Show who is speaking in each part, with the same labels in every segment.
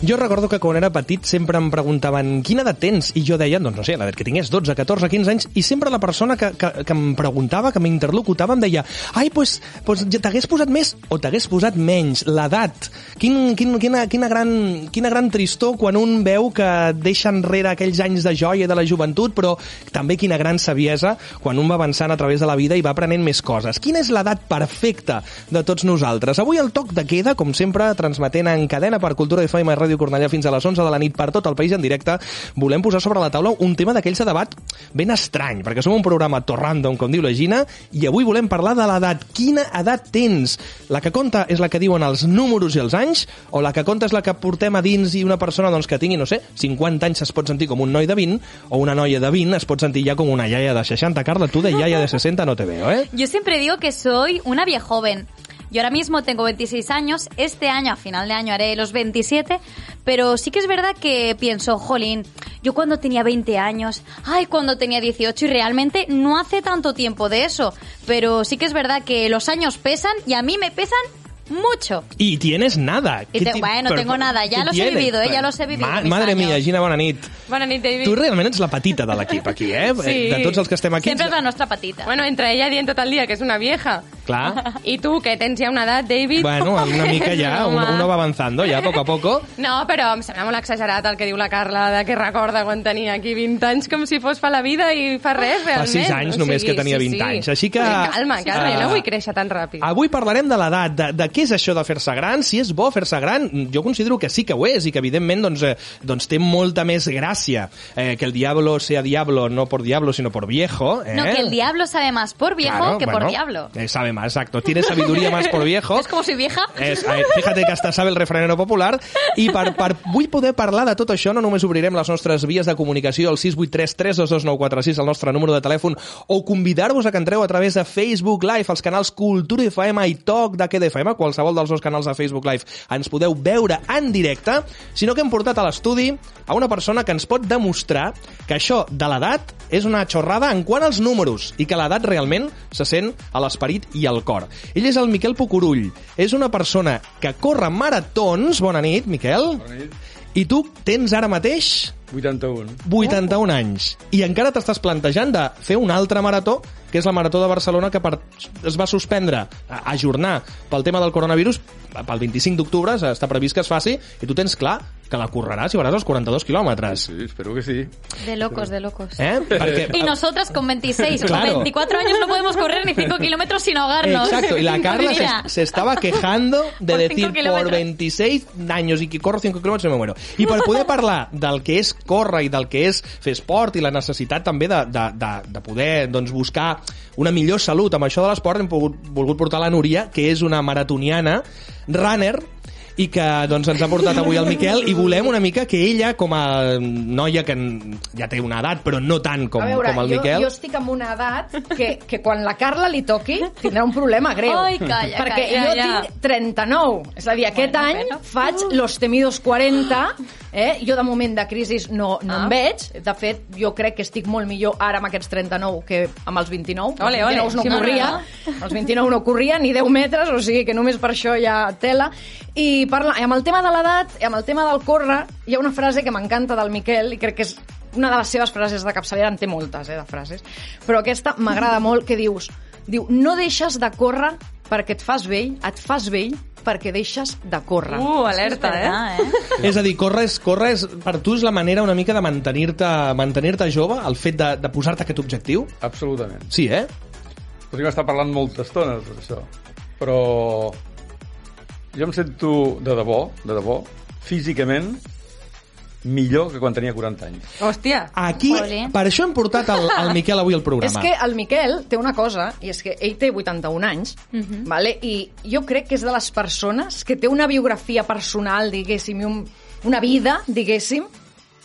Speaker 1: Jo recordo que quan era petit sempre em preguntaven quina edat tens? I jo deia, doncs no sé, l'edat que tingués, 12, 14, 15 anys, i sempre la persona que, que, que em preguntava, que m'interlocutava, em deia ai, pues, pues ja t'hagués posat més o t'hagués posat menys, l'edat. Quin, quin, quina, quina, gran, quina gran tristor quan un veu que deixa enrere aquells anys de joia de la joventut, però també quina gran saviesa quan un va avançant a través de la vida i va aprenent més coses. Quina és l'edat perfecta de tots nosaltres? Avui el toc de queda, com sempre, transmetent en cadena per Cultura FM i Ràdio Cornellà fins a les 11 de la nit per tot el país en directe, volem posar sobre la taula un tema d'aquells de debat ben estrany, perquè som un programa torrandom, com diu la Gina, i avui volem parlar de l'edat. Quina edat tens? La que compta és la que diuen els números i els anys, o la que compta és la que portem a dins i una persona doncs, que tingui, no sé, 50 anys es pot sentir com un noi de 20, o una noia de 20 es pot sentir ja com una iaia de 60. Carla, tu de iaia de 60 no te veo, ¿eh?
Speaker 2: Yo siempre digo que soy una vieja joven. Yo ahora mismo tengo 26 años, este año, a final de año, haré los 27, pero sí que es verdad que pienso, jolín, yo cuando tenía 20 años, ay, cuando tenía 18, y realmente no hace tanto tiempo de eso, pero sí que es verdad que los años pesan y a mí me pesan mucho.
Speaker 1: Y tienes nada.
Speaker 2: Y
Speaker 1: ¿Qué
Speaker 2: te-
Speaker 1: ti-
Speaker 2: bueno,
Speaker 1: pero-
Speaker 2: tengo nada, ya
Speaker 1: ¿qué
Speaker 2: los he
Speaker 1: tienes?
Speaker 2: vivido, eh, ya los he vivido,
Speaker 1: Ma-
Speaker 2: mis
Speaker 1: madre
Speaker 2: años.
Speaker 1: mía, Gina, bona nit.
Speaker 3: Bona nit, David.
Speaker 1: Tu realment ets la petita de l'equip, aquí, eh?
Speaker 3: Sí.
Speaker 1: De tots els que estem aquí.
Speaker 2: Siempre es la nuestra patita.
Speaker 3: Bueno, entre ella dient tot el dia que és una vieja.
Speaker 1: Clar.
Speaker 3: I tu, que tens ja una edat, David...
Speaker 1: Bueno, una mica ja,
Speaker 3: Home.
Speaker 1: uno, uno va avanzando ja, poco a poco.
Speaker 3: No, però em sembla molt exagerat el que diu la Carla, de que recorda quan tenia aquí 20 anys com si fos fa la vida i fa res, realment.
Speaker 1: Fa sis anys només que tenia 20 anys, així que-
Speaker 3: Calma, calma,
Speaker 1: Ah.
Speaker 3: jo no vull créixer tan ràpid.
Speaker 1: Avui parlarem de l'edat, de, de què és això de fer-se gran, si és bo fer-se gran. Jo considero que sí que ho és i que, evidentment, doncs, eh, doncs té molta més gràcia eh, que el diablo sea diablo, no por diablo, sinó por viejo. Eh?
Speaker 2: No, que el diablo sabe más por viejo
Speaker 1: Claro,
Speaker 2: que por
Speaker 1: bueno,
Speaker 2: diablo.
Speaker 1: eh, sabe más, exacto. Tiene sabiduría más por viejo.
Speaker 2: Es como soy vieja.
Speaker 1: És, eh, fíjate que hasta sabe el refranero popular i per, per vull poder parlar de tot això no només obrirem les nostres vies de comunicació al 683322946 el nostre número de telèfon o convidar-vos a que entreu a través de Facebook Live als canals Cultura FM i Toc de Queda FM qualsevol dels dos canals de Facebook Live ens podeu veure en directe sinó que hem portat a l'estudi a una persona que ens pot demostrar que això de l'edat és una xorrada en quant als números i que l'edat realment se sent a l'esperit i al cor. Ell és el Miquel Pucurull. És una persona que corre maratons. Bona nit, Miquel. Bona nit. I tu tens ara mateix
Speaker 4: 81.
Speaker 1: 81 anys i encara t'estàs plantejant de fer una altra marató, que és la Marató de Barcelona que per, es va suspendre, a, ajornar pel tema del coronavirus, pel 25 d'octubre està previst que es faci i tu tens clar que la correràs i faràs els 42 quilòmetres.
Speaker 4: Sí, espero que sí.
Speaker 2: De locos, de locos.
Speaker 1: Eh? Perquè,
Speaker 2: Y nosotras con 26
Speaker 1: Claro.
Speaker 2: o 24 años no podemos correr ni 5 kilómetros sin ahogarnos.
Speaker 1: Exacto, y la Carla
Speaker 2: Mira.
Speaker 1: se, se estaba quejando de
Speaker 2: Por cinco
Speaker 1: decir por
Speaker 2: kilómetros".
Speaker 1: 26 anys i que corro 5 quilòmetres i me muero. I per poder parlar del que és córrer i del que és fer esport i la necessitat també de, de, de, de poder doncs, buscar una millor salut amb això de l'esport, hem pogut, volgut portar la Núria, que és una maratoniana, runner, i que doncs, ens ha portat avui el Miquel i volem una mica que ella, com a noia que en- ja té una edat, però no tant com,
Speaker 5: a veure,
Speaker 1: com el Miquel...
Speaker 5: jo, jo estic en una edat que, que quan la Carla li toqui tindrà un problema greu.
Speaker 2: Ai, calla,
Speaker 5: perquè
Speaker 2: calla,
Speaker 5: jo
Speaker 2: ja.
Speaker 5: tinc 39. És a dir, aquest
Speaker 2: Bueno,
Speaker 5: any
Speaker 2: bueno.
Speaker 5: faig los temidos 40. Eh? Jo, de moment, de crisi no, no
Speaker 2: Ah.
Speaker 5: en veig. De fet, jo crec que estic molt millor ara amb aquests 39 que amb els 29.
Speaker 3: Ole, ole.
Speaker 5: Els 29 no
Speaker 3: Sí, molt
Speaker 5: corria.
Speaker 2: bé,
Speaker 5: Els 29 no corria ni 10 metres, o sigui que només per això ja tela. I parla, i amb el tema de l'edat, i amb el tema del córrer, hi ha una frase que m'encanta del Miquel i crec que és una de les seves frases de capçalera, en té moltes, eh, de frases, però aquesta m'agrada molt, que dius, diu, no deixes de córrer perquè et fas vell, et fas vell perquè deixes de córrer.
Speaker 3: Uh,
Speaker 2: Es
Speaker 3: alerta, eh?
Speaker 2: verdad, ¿eh?
Speaker 1: És a dir, corres, corres, per tu és la manera una mica de mantenir-te mantenir jove, el fet de, de posar-te aquest objectiu?
Speaker 4: Absolutament.
Speaker 1: Sí, eh?
Speaker 4: Podríem estar parlant molta estona de tot això, però jo em sento de debò, de debò, físicament, millor que quan tenia 40 anys.
Speaker 3: Hòstia.
Speaker 1: Aquí,
Speaker 2: Ole.
Speaker 1: per això hem portat el, el Miquel avui al
Speaker 5: És
Speaker 1: programa.
Speaker 5: que el Miquel té una cosa, i és que ell té 81 anys, vale? i jo crec que és de les persones que té una biografia personal, diguéssim, i un, una vida, diguéssim,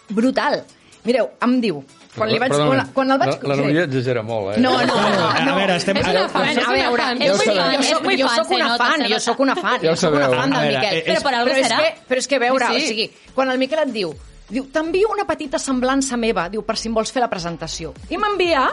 Speaker 5: brutal. Mireu, em diu... Quan, li vaig,
Speaker 4: Perdona,
Speaker 5: quan, quan el vaig...
Speaker 4: La, la
Speaker 5: sí.
Speaker 4: Núria exagera molt, eh?
Speaker 5: No, no, no.
Speaker 1: A veure, estem...
Speaker 3: És una fan, és
Speaker 5: A
Speaker 3: una
Speaker 5: veure,
Speaker 3: fan.
Speaker 5: jo
Speaker 4: ho
Speaker 5: soc,
Speaker 4: sabeu.
Speaker 5: jo soc,
Speaker 2: És muy
Speaker 5: jo
Speaker 2: fan,
Speaker 5: soc
Speaker 2: se
Speaker 5: una
Speaker 2: nota,
Speaker 5: fan,
Speaker 2: se
Speaker 5: jo
Speaker 2: nota.
Speaker 5: sóc una fan,
Speaker 4: Ja ho
Speaker 5: jo sóc una
Speaker 4: sabeu.
Speaker 5: fan
Speaker 1: A
Speaker 5: del
Speaker 1: veure,
Speaker 5: Miquel.
Speaker 1: eh,
Speaker 2: Però per algo
Speaker 5: però és
Speaker 2: serà.
Speaker 5: que, però és que a veure,
Speaker 2: Sí, sí.
Speaker 5: o sigui, quan el Miquel et diu Diu, t'envio una petita semblança meva, diu, per si em vols fer la presentació. I m'envia,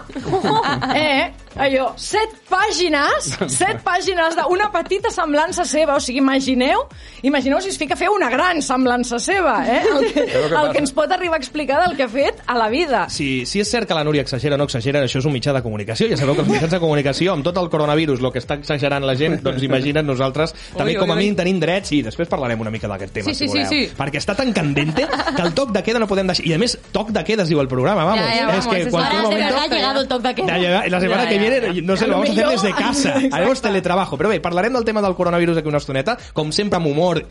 Speaker 5: eh, allò, set pàgines, set pàgines d'una petita semblança seva, o sigui, imagineu, imagineu si es fica a fer una gran semblança seva, eh, el
Speaker 4: Sabeu
Speaker 5: que,
Speaker 4: què
Speaker 5: el
Speaker 4: passa?
Speaker 5: que ens pot arribar a explicar del que ha fet a la vida.
Speaker 1: Si, si és cert que la Núria exagera o no exagera, això és un mitjà de comunicació. Ja sabeu que els mitjans de comunicació, amb tot el coronavirus, el que està exagerant la gent, doncs imagina't nosaltres, també
Speaker 3: ui,
Speaker 1: com a
Speaker 3: ui.
Speaker 1: mínim tenim drets i després parlarem una mica d'aquest tema,
Speaker 3: Sí, sí,
Speaker 1: si voleu.
Speaker 3: sí, sí.
Speaker 1: Perquè està tan candente que el toc de queda no podem deixar... I a més, toc de queda es diu el programa, vamos.
Speaker 3: Ja, ja,
Speaker 1: és
Speaker 3: vamos,
Speaker 1: que
Speaker 3: és
Speaker 1: en
Speaker 3: ahora
Speaker 1: cualquier
Speaker 3: de
Speaker 1: momento...
Speaker 3: verdad
Speaker 2: ha llegado el toque de
Speaker 1: Ya,
Speaker 2: queda.
Speaker 1: ya, la semana
Speaker 3: Ya,
Speaker 1: que
Speaker 3: ya.
Speaker 1: viene, eh, no sé,
Speaker 5: A
Speaker 1: lo
Speaker 5: lo
Speaker 1: vamos a hacer
Speaker 5: mejor-
Speaker 1: desde casa.
Speaker 5: Exacte.
Speaker 1: Haremos teletrabajo. Però bé, parlarem del tema del coronavirus aquí una estoneta, com sempre amb humor,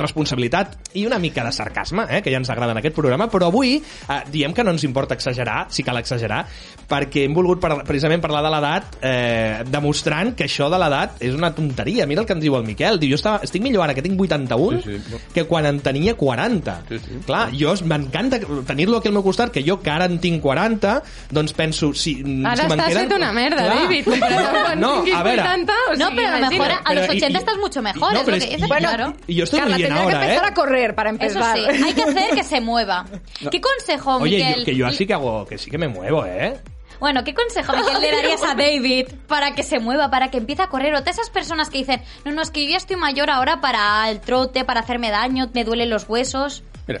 Speaker 1: responsabilitat i una mica de sarcasme, eh, que ja ens agrada en aquest programa, però avui eh, diem que no ens importa exagerar, si cal exagerar, perquè hem volgut parlar, precisament parlar de l'edat, eh, demostrant que això de l'edat és una tonteria. Mira el que ens diu el Miquel. Diu, jo estava, estic millor ara, que tinc 81,
Speaker 4: Sí, sí.
Speaker 1: que quan en tenia 40.
Speaker 4: Sí, sí.
Speaker 1: Clar, jo es- m'encanta tenir-lo aquí al meu costat, que jo que ara en tinc 40, doncs penso, si,
Speaker 3: Ara
Speaker 1: si me'n
Speaker 3: estàs
Speaker 1: queden-
Speaker 3: fet una merda,
Speaker 1: Clar.
Speaker 3: David, comparat amb quan
Speaker 1: pues, No,
Speaker 3: tinguis
Speaker 1: a veure.
Speaker 3: 80, o sigui,
Speaker 2: No, pero a lo mejor
Speaker 3: imagina't.
Speaker 2: a los
Speaker 1: Pero- y-
Speaker 2: 80
Speaker 1: y-
Speaker 2: estás mucho mejor.
Speaker 1: no,
Speaker 2: es
Speaker 1: pero
Speaker 2: lo que
Speaker 1: es-
Speaker 2: dices,
Speaker 1: y-
Speaker 2: claro.
Speaker 1: y- y yo estoy
Speaker 5: Carla,
Speaker 1: muy bien
Speaker 5: tendrá
Speaker 1: ahora,
Speaker 5: que empezar
Speaker 1: ¿eh?
Speaker 5: a correr para
Speaker 2: Eso
Speaker 5: empezar.
Speaker 2: sí, hay que hacer que se mueva. ¿Qué consejo,
Speaker 1: Oye,
Speaker 2: Miguel?
Speaker 1: yo- que yo así que hago, que sí que me muevo, ¿eh?
Speaker 2: Bueno, ¿qué consejo, Miguel, le darías a David para que se mueva, para que empiece a correr? O de esas personas que dicen, no, no, es que yo ya estoy mayor ahora para el trote, para hacerme daño, me duelen los huesos.
Speaker 4: Mira,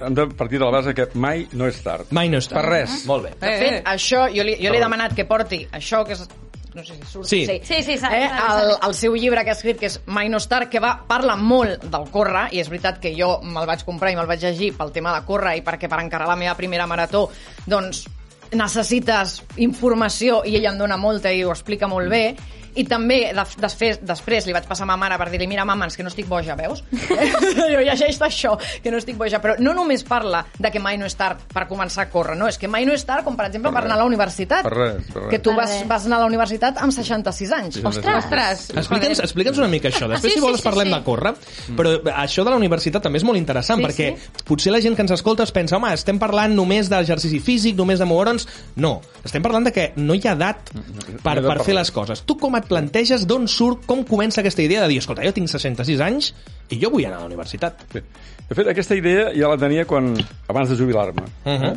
Speaker 4: hem de partir de la base que mai no és tard.
Speaker 1: Mai no està.
Speaker 4: Per res.
Speaker 1: Molt bé.
Speaker 5: De
Speaker 3: Eh,
Speaker 5: fet,
Speaker 3: eh.
Speaker 5: això, jo li, jo li he demanat que porti això que és no sé si surt,
Speaker 1: Sí.
Speaker 2: Sí, sí, sale,
Speaker 5: eh,
Speaker 2: sale, sale.
Speaker 5: el, el seu llibre que ha escrit, que és Mai no és tard, que va, parla molt del córrer, i és veritat que jo me'l vaig comprar i me'l vaig llegir pel tema de córrer i perquè per encarar la meva primera marató, doncs necessites informació i ell em dona molta i ho explica molt bé i també de, desfes, després li vaig passar a ma mare per dir-li, mira mama, és que no estic boja, veus? jo llegeix això, que no estic boja però no només parla de que mai no és tard per començar a córrer, no, és que mai no és tard com per exemple per,
Speaker 4: Per
Speaker 5: anar a la
Speaker 4: res.
Speaker 5: universitat
Speaker 4: Per res, per res.
Speaker 5: que tu
Speaker 2: Per
Speaker 5: vas,
Speaker 2: res.
Speaker 5: vas anar a la universitat amb 66 anys
Speaker 4: Sí, sí.
Speaker 3: Ostres, ostres.
Speaker 1: Explica'ns,
Speaker 3: joder.
Speaker 1: explica'ns una mica això. Després, si
Speaker 2: Sí,
Speaker 1: vols,
Speaker 2: sí, sí,
Speaker 1: parlem
Speaker 2: sí.
Speaker 1: de córrer. Però eh, això de la universitat també és molt interessant,
Speaker 2: Sí,
Speaker 1: perquè potser la gent que ens escolta es pensa home, estem parlant només d'exercici físic, només de moure'ns... No, estem parlant de que no hi ha edat per,
Speaker 4: no hi ha
Speaker 1: per
Speaker 4: edat
Speaker 1: fer
Speaker 4: per
Speaker 1: les coses. Tu com et planteges, d'on surt, com comença aquesta idea de dir, escolta, jo tinc 66 anys i jo vull anar a la universitat.
Speaker 4: Sí. De fet, aquesta idea ja la tenia quan, abans de jubilar-me. Uh
Speaker 1: Mhm.
Speaker 4: -huh.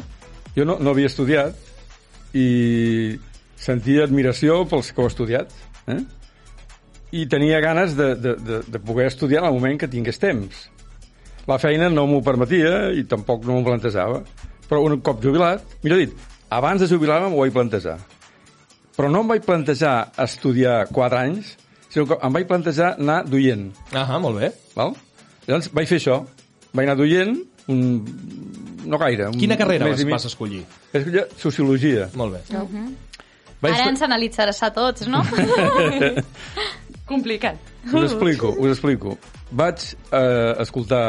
Speaker 4: Jo no, no havia estudiat i sentia admiració pels que ho he estudiat. Eh? I tenia ganes de, de, de, de poder estudiar en el moment que tingués temps. La feina no m'ho permetia i tampoc no m'ho plantejava. Però un cop jubilat, millor dit, abans de jubilar-me m'ho vaig plantejar. Però no em vaig plantejar estudiar 4 anys, sinó que em vaig plantejar anar duient.
Speaker 1: Ahà, molt bé.
Speaker 4: Val? Llavors vaig fer això. Vaig anar duient, un... no gaire. Un...
Speaker 1: Quina carrera
Speaker 4: un mes
Speaker 1: vas,
Speaker 4: Mm, i mig.
Speaker 1: vas escollir?
Speaker 4: Vaig escollir Sociologia.
Speaker 1: Molt bé.
Speaker 4: Vaig...
Speaker 2: Ahora ens analitzaràs a tots, no?
Speaker 3: Complicat.
Speaker 4: Us explico, us explico. Vaig eh, escoltar,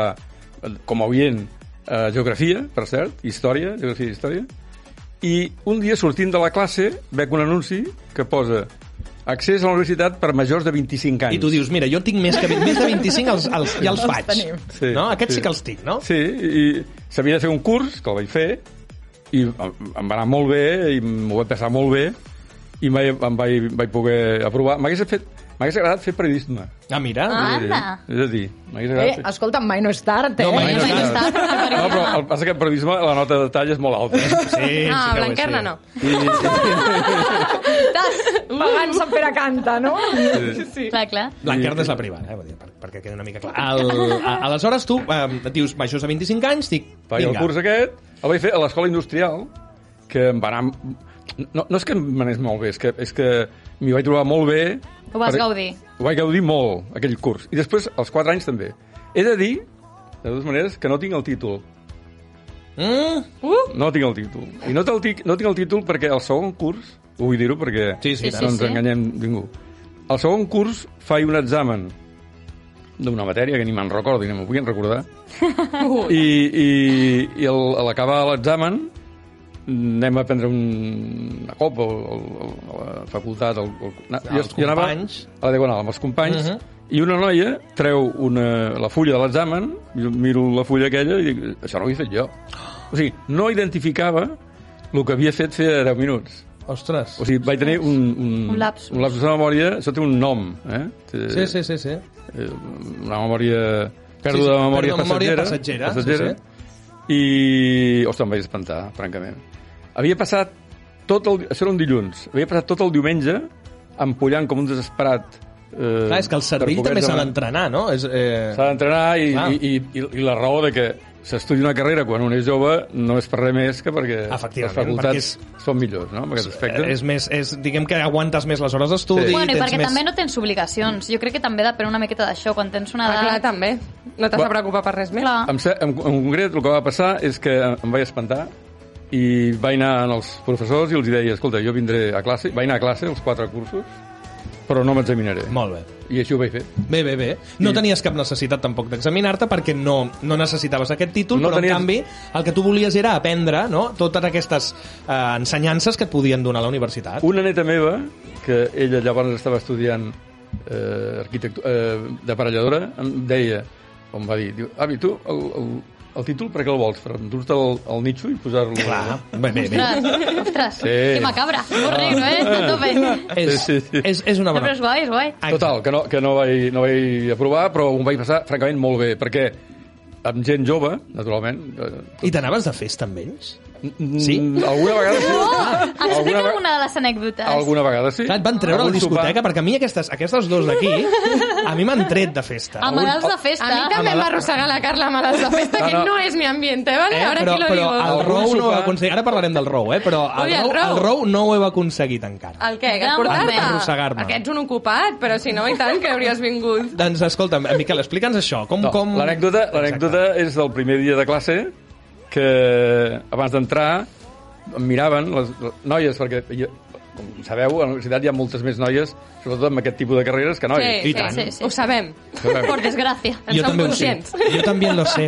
Speaker 4: eh, com a oient, eh, geografia, per cert, història, geografia i història, i un dia sortint de la classe veig un anunci que posa accés a la universitat per majors de 25 anys.
Speaker 1: I tu dius, mira, jo tinc més, que, més de 25, els, els, ja els
Speaker 5: Els
Speaker 1: faig.
Speaker 5: tenim.
Speaker 4: Sí,
Speaker 1: no? Aquests sí.
Speaker 4: sí
Speaker 1: que els tinc, no?
Speaker 4: Sí, i s'havia de fer un curs, que el vaig fer, i em em va anar molt bé, i m'ho vaig passar molt bé, i mai, em vaig, vaig poder aprovar. M'hagués fet- m'hagués agradat fer periodisme.
Speaker 1: Ah, mira.
Speaker 2: Ah.
Speaker 4: És a dir,
Speaker 2: Anda.
Speaker 4: És a dir, m'hagués
Speaker 5: Eh,
Speaker 4: agradat... fer-
Speaker 5: escolta, mai no és tard, eh?
Speaker 1: No, mai
Speaker 4: M'hagués
Speaker 2: no
Speaker 4: agradat.
Speaker 2: està, perquè periodisme-
Speaker 4: No, però el que passa que en periodisme la nota de detall és molt alta. eh?
Speaker 1: Sí, sí
Speaker 3: Ah,
Speaker 1: que ho és,
Speaker 3: Blanquerna
Speaker 1: sí.
Speaker 3: no.
Speaker 4: I,
Speaker 5: Pagant Sant Pere canta, no?
Speaker 2: Clar, clar.
Speaker 1: Blanquerna és la privada, eh? Vull dir, per- perquè quedi una mica clar. El, a, aleshores, tu eh, dius majors de 25 anys, dic,
Speaker 4: Vaig al
Speaker 1: vinga.
Speaker 4: curs aquest, el vaig fer a l'escola industrial, que em va anar... No, no és que em anés molt bé, és que, és que m'hi vaig trobar molt bé.
Speaker 2: Ho vas gaudir.
Speaker 4: Ho vaig gaudir molt, aquell curs. I després, als 4 anys també. He de dir, de dues maneres, que no tinc el títol.
Speaker 1: Mm?
Speaker 4: No tinc el títol. I no, te'l tic, no tinc el títol perquè el segon curs, ho vull dir-ho perquè
Speaker 1: Sí, sí,
Speaker 4: no
Speaker 1: sí,
Speaker 4: ens
Speaker 2: sí.
Speaker 4: enganyem ningú, el segon curs faig un examen d'una matèria que ni me'n recordo i ni m'ho puguin recordar, i, i, i el- a l'acabar l'examen anem a prendre un, una copa o, o, o a la facultat. El, el, na,
Speaker 1: Als companys.
Speaker 4: a la Diagonal, amb els companys, uh
Speaker 1: Mhm.
Speaker 4: -huh. i una noia treu una, la fulla de l'examen, jo miro la fulla aquella i dic, això no ho he fet jo. O sigui, no identificava el que havia fet feia 10 minuts.
Speaker 1: Ostres.
Speaker 4: O sigui, vaig tenir un, un,
Speaker 2: Un lapsus.
Speaker 4: un lapsus de memòria, això té un nom, eh? Té,
Speaker 1: Sí, sí, sí, sí.
Speaker 4: eh, una memòria...
Speaker 1: Sí,
Speaker 4: Pèrdua
Speaker 1: sí,
Speaker 4: de memòria
Speaker 1: pèrdua de memòria
Speaker 4: passatgera.
Speaker 1: passatgera, sí,
Speaker 4: passatgera
Speaker 1: sí.
Speaker 4: I... Ostres, em vaig espantar, francament. Havia passat tot el... Això era un dilluns. Havia passat tot el diumenge empollant com un desesperat... Eh,
Speaker 1: Clar, és que el cervell
Speaker 4: per poder
Speaker 1: també s'ha
Speaker 4: demanar-
Speaker 1: d'entrenar, no? És, eh...
Speaker 4: S'ha d'entrenar i,
Speaker 1: Clar.
Speaker 4: i, i, i, la raó de que s'estudia una carrera quan un és jove no és per res més que perquè
Speaker 1: Efectivament,
Speaker 4: les facultats
Speaker 1: perquè és-
Speaker 4: són millors, no?, en aquest aspecte.
Speaker 1: Eh, és més, és, diguem que aguantes més les hores d'estudi.
Speaker 4: Sí.
Speaker 2: Bueno, i
Speaker 1: tens
Speaker 2: perquè
Speaker 1: més...
Speaker 2: també no tens obligacions. Jo crec que també depèn una miqueta d'això, quan tens una
Speaker 3: Ah,
Speaker 2: edat...
Speaker 3: clar, també. No t'has de preocupar per res més.
Speaker 2: Clar.
Speaker 4: Em, sa- en, en concret, el que va passar és que em vaig espantar i vaig anar als professors i els deia, escolta, jo vindré a classe, vaig anar a classe els quatre cursos, però no m'examinaré.
Speaker 1: Molt bé.
Speaker 4: I així ho vaig fer.
Speaker 1: Bé, bé, bé. No
Speaker 4: I-
Speaker 1: tenies cap necessitat tampoc d'examinar-te perquè no, no necessitaves aquest títol,
Speaker 4: No
Speaker 1: però
Speaker 4: tenies-
Speaker 1: en canvi el que tu volies era aprendre no? totes aquestes eh, ensenyances que et podien donar a la universitat.
Speaker 4: Una neta meva, que ella llavors estava estudiant eh, arquitectu- eh, d'aparelladora, em deia, com va dir, diu, avi, tu el, el, el títol per què el vols? Per endur-te el, el nitxo i posar-lo...
Speaker 1: Clar, bé, bé, bé.
Speaker 2: Ostres, ostres,
Speaker 4: Sí.
Speaker 2: que macabra. Molt negro, eh? A tope.
Speaker 1: És,
Speaker 4: Sí, sí.
Speaker 1: és, és una
Speaker 2: No, però
Speaker 1: bona...
Speaker 2: és guai, és guai.
Speaker 4: Total, que no, que no, vaig, no vaig aprovar, però ho vaig passar, francament, molt bé, perquè amb gent jove, naturalment... eh,
Speaker 1: I t'anaves de festa amb ells?
Speaker 4: mm,
Speaker 1: Sí?
Speaker 4: Alguna vegada sí.
Speaker 2: Explica
Speaker 4: ve-
Speaker 2: alguna de les anècdotes.
Speaker 4: alguna vegada sí.
Speaker 1: Clar, et van treure a la
Speaker 4: Algun
Speaker 1: discoteca,
Speaker 4: sopar.
Speaker 1: perquè a mi aquestes, aquestes dos d'aquí, a mi m'han tret de festa.
Speaker 2: A malalts de festa.
Speaker 3: A mi també em va arrossegar la Carla amb les de festa,
Speaker 4: No,
Speaker 3: que
Speaker 4: no.
Speaker 3: no és mi ambient, eh? Vale? Ara
Speaker 1: però,
Speaker 3: aquí lo
Speaker 1: però
Speaker 3: digo.
Speaker 1: el
Speaker 4: Algun
Speaker 1: Rou no ho
Speaker 4: sopar.
Speaker 1: aconseguit. Ara parlarem del Rou, eh? Però el,
Speaker 3: Ui, el
Speaker 1: Rou,
Speaker 3: Rou. Ah.
Speaker 1: el Rou no ho heu aconseguit encara.
Speaker 3: El què? Que
Speaker 2: No,
Speaker 3: portar-te?
Speaker 2: em va
Speaker 1: arrossegar-me.
Speaker 3: Perquè ets un ocupat, però si no, i tant, que hauries vingut.
Speaker 1: Doncs escolta'm, Miquel, explica'ns això. Com,
Speaker 4: No,
Speaker 1: com...
Speaker 4: L'anècdota
Speaker 1: Exacte.
Speaker 4: l'anècdota és del primer dia de classe que abans d'entrar em miraven les, les noies, perquè jo, com sabeu, a la universitat hi ha moltes més noies, sobretot amb aquest tipus de carreres, que noies.
Speaker 1: I tant.
Speaker 2: sí, sí.
Speaker 3: Ho sabem.
Speaker 2: Por desgracia.
Speaker 3: En
Speaker 1: Jo
Speaker 3: som
Speaker 1: també ho sé.
Speaker 3: conscients.
Speaker 1: Jo també lo sé.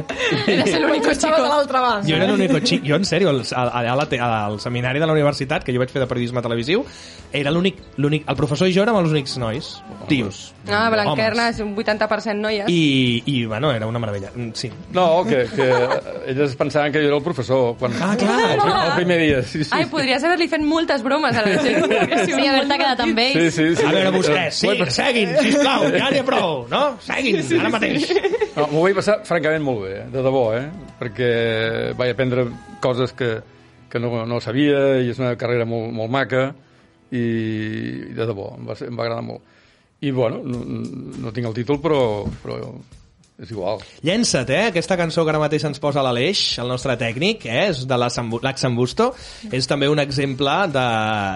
Speaker 3: Eres l'únic
Speaker 5: Estava de
Speaker 3: xico.
Speaker 5: l'altra banda.
Speaker 1: Jo era l'únic xic, jo en sèrio, al, al, al, al seminari de la universitat, que jo vaig fer de periodisme televisiu, era l'únic, l'únic, el professor i jo érem els únics nois, tios,
Speaker 3: No, Ah, Blanquerna
Speaker 1: homes.
Speaker 3: és un 80% noies.
Speaker 1: I, I, bueno, era una meravella. Mm, Sí.
Speaker 4: No, que, que eh, elles pensaven que jo era el professor. Quan,
Speaker 1: Ah, clar.
Speaker 4: El, el primer dia, sí, sí.
Speaker 3: Ai, podries haver-li fet moltes bromes a la gent. perquè si
Speaker 2: Sí,
Speaker 3: un-
Speaker 2: haver-te quedat amb ells.
Speaker 4: Sí, sí, sí.
Speaker 1: A veure, vostès, sí,
Speaker 4: Bueno,
Speaker 1: seguin, sisplau, ja n'hi ha prou, no? Seguin, ara mateix.
Speaker 4: No, m'ho vaig passar francament molt bé, eh? de debò, eh? Perquè vaig aprendre coses que, que no, no sabia i és una carrera molt, molt maca i, i de debò, em va, ser, em va agradar molt. I, bueno, no, no tinc el títol, però, però és igual.
Speaker 1: Llença't, eh? Aquesta cançó que ara mateix ens posa l'Aleix, el nostre tècnic, eh? és de l'Axambusto. És també un exemple de,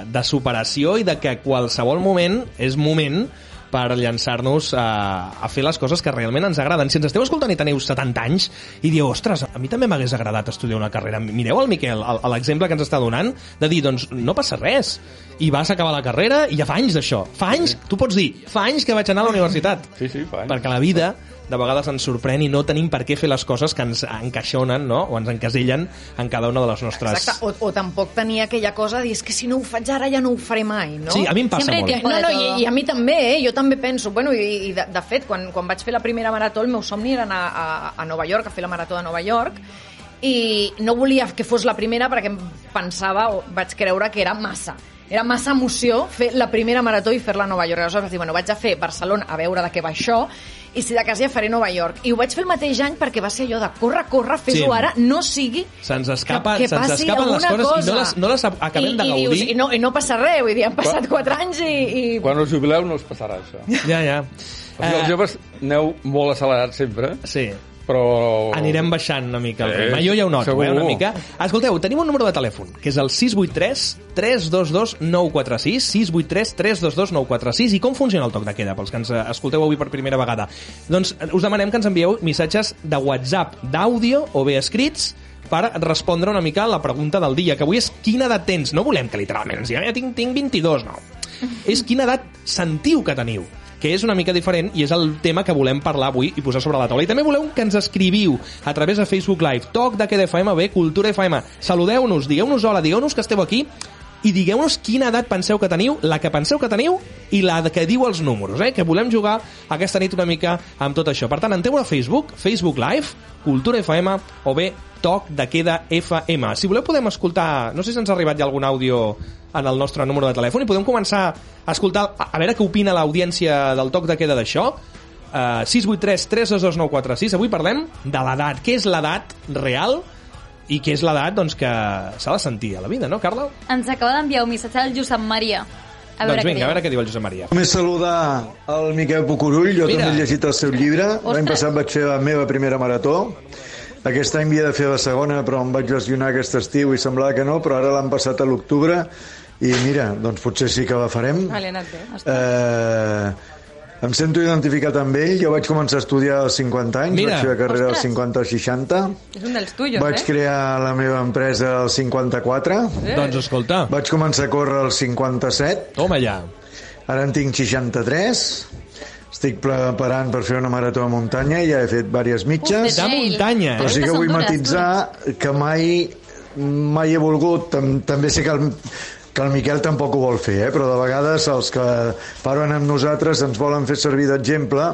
Speaker 1: de superació i de que qualsevol moment és moment per llançar-nos a, a fer les coses que realment ens agraden. Si ens esteu escoltant i teniu 70 anys i dieu, ostres, a mi també m'hagués agradat estudiar una carrera. Mireu el Miquel, el- l'exemple que ens està donant, de dir, doncs, no passa res. I vas acabar la carrera i ja fa anys d'això. Fa anys, tu pots dir, fa anys que vaig anar a la universitat
Speaker 4: Sí, sí, fa anys.
Speaker 1: perquè la vida de vegades ens sorprèn i no tenim per què fer les coses que ens encaixonen no? o ens encasellen en cada una de les nostres...
Speaker 5: Exacte, o, o tampoc tenia aquella cosa de dir, és que si no ho faig ara ja no ho faré mai, no?
Speaker 1: Sí, a mi em passa
Speaker 2: Sempre
Speaker 1: molt.
Speaker 2: hi té-
Speaker 5: No, no, i,
Speaker 2: Todo.
Speaker 5: i a mi també, eh? jo també penso, bueno, i, i de, de fet, quan, quan vaig fer la primera marató, el meu somni era anar a, a Nova York, a fer la marató de Nova York, i no volia que fos la primera perquè em pensava, o vaig creure que era massa. Era massa emoció fer la primera marató i fer-la a Nova York. Aleshores vaig dir, bueno, vaig a fer Barcelona a veure de què va això, i si de cas ja faré Nova York. I ho vaig fer el mateix any perquè va ser allò de corre, corre, fes-ho
Speaker 1: Sí.
Speaker 5: ara, no sigui
Speaker 1: Se'ns escapa-
Speaker 5: que, que
Speaker 1: se'ns
Speaker 5: passi
Speaker 1: escapen les
Speaker 5: alguna
Speaker 1: coses i no
Speaker 5: cosa.
Speaker 1: les- no les acabem
Speaker 5: I,
Speaker 1: de
Speaker 5: i
Speaker 1: gaudir.
Speaker 5: Dius, i, no, I no passa res, vull dir, han passat
Speaker 4: Quan-
Speaker 5: 4 anys i... i...
Speaker 4: Quan us jubileu no us passarà això. O
Speaker 1: Ja, ja.
Speaker 4: sigui,
Speaker 1: Eh.
Speaker 4: els joves aneu molt accelerats sempre,
Speaker 1: Sí.
Speaker 4: però...
Speaker 1: Anirem baixant una mica el
Speaker 4: Eh,
Speaker 1: ritme. Jo ja ho noto,
Speaker 4: segur.
Speaker 1: eh, una mica. Escolteu, tenim un número de telèfon, que és el 683 322 946, 683 322 946. I com funciona el toc de queda, pels que ens eh, escolteu avui per primera vegada? Doncs eh, us demanem que ens envieu missatges de WhatsApp, d'àudio o bé escrits, per respondre una mica a la pregunta del dia, que avui és quina edat tens? No volem que literalment ens diguem, ja tinc, tinc 22, no. És quina edat sentiu que teniu que és una mica diferent i és el tema que volem parlar avui i posar sobre la taula. I també voleu que ens escriviu a través de Facebook Live, toc de Queda FM, bé, Cultura FM. Saludeu-nos, digueu-nos hola, digueu-nos que esteu aquí i digueu-nos quina edat penseu que teniu, la que penseu que teniu i la que diu els números, eh? que volem jugar aquesta nit una mica amb tot això. Per tant, entreu a Facebook, Facebook Live, Cultura FM o bé Toc de Queda FM. Si voleu podem escoltar, no sé si ens ha arribat ja algun àudio en el nostre número de telèfon i podem començar a escoltar, a, a veure què opina l'audiència del Toc de Queda d'això. Eh, Uh, 683 322 946 Avui parlem de l'edat. Què és l'edat real i que és l'edat doncs, que s'ha de sentir a la vida, no, Carla?
Speaker 2: Ens acaba d'enviar un missatge al Josep Maria. A veure
Speaker 1: doncs vinga,
Speaker 2: què
Speaker 1: a veure
Speaker 2: diu.
Speaker 1: què diu el Josep Maria.
Speaker 6: Només saludar el Miquel Pucurull, jo
Speaker 1: Mira.
Speaker 6: Mira. també he llegit el seu llibre. L'any passat vaig fer la meva primera marató. Aquest any havia de fer la segona, però em vaig lesionar aquest estiu i semblava que no, però ara l'han passat a l'octubre i mira, doncs potser sí que la farem.
Speaker 3: Vale, ha anat bé.
Speaker 6: Eh, em sento identificat amb ell, jo vaig començar a estudiar als 50 anys,
Speaker 1: Mira.
Speaker 6: vaig fer la carrera
Speaker 2: Ostres.
Speaker 6: als 50 als 60,
Speaker 3: És un dels tuyos,
Speaker 6: vaig
Speaker 3: eh?
Speaker 6: crear la meva empresa als 54,
Speaker 1: Doncs escolta,
Speaker 6: vaig començar a córrer als 57,
Speaker 1: toma ja.
Speaker 6: Ara en tinc 63, estic preparant per fer una marató a muntanya, ja he fet diverses mitges,
Speaker 1: De muntanya,
Speaker 6: però
Speaker 1: eh?
Speaker 6: sí que
Speaker 2: són
Speaker 6: vull
Speaker 2: dures,
Speaker 6: matitzar que mai mai he volgut, tam- també sé que el, que el Miquel tampoc ho vol fer, eh? però de vegades els que parlen amb nosaltres ens volen fer servir d'exemple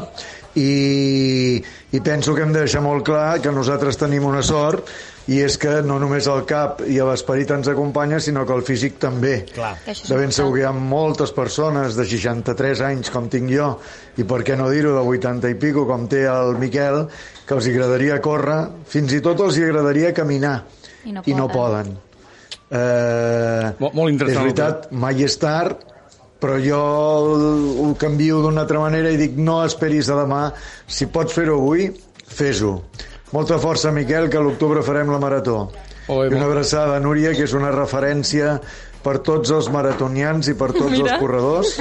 Speaker 6: i, i penso que hem de deixar molt clar que nosaltres tenim una sort i és que no només el cap i l'esperit ens acompanya, sinó que el físic també.
Speaker 1: Clar.
Speaker 2: Que això és
Speaker 6: De ben
Speaker 2: important.
Speaker 6: segur que hi ha moltes persones de 63 anys, com tinc jo, i per què no dir-ho, de 80 i pico, com té el Miquel, que els hi agradaria córrer, fins i tot els hi agradaria caminar,
Speaker 2: I no
Speaker 6: i no
Speaker 2: poden.
Speaker 6: poden. Eh,
Speaker 4: Mo- molt interessant,
Speaker 6: És veritat, mai és tard, però jo ho canvio d'una altra manera i dic no esperis a demà, si pots fer-ho avui, fes-ho. Molta força, Miquel, que a l'octubre farem la marató.
Speaker 4: Oi,
Speaker 6: I una
Speaker 4: molt-
Speaker 6: abraçada a Núria, que és una referència per tots els maratonians i per tots Mira. els corredors,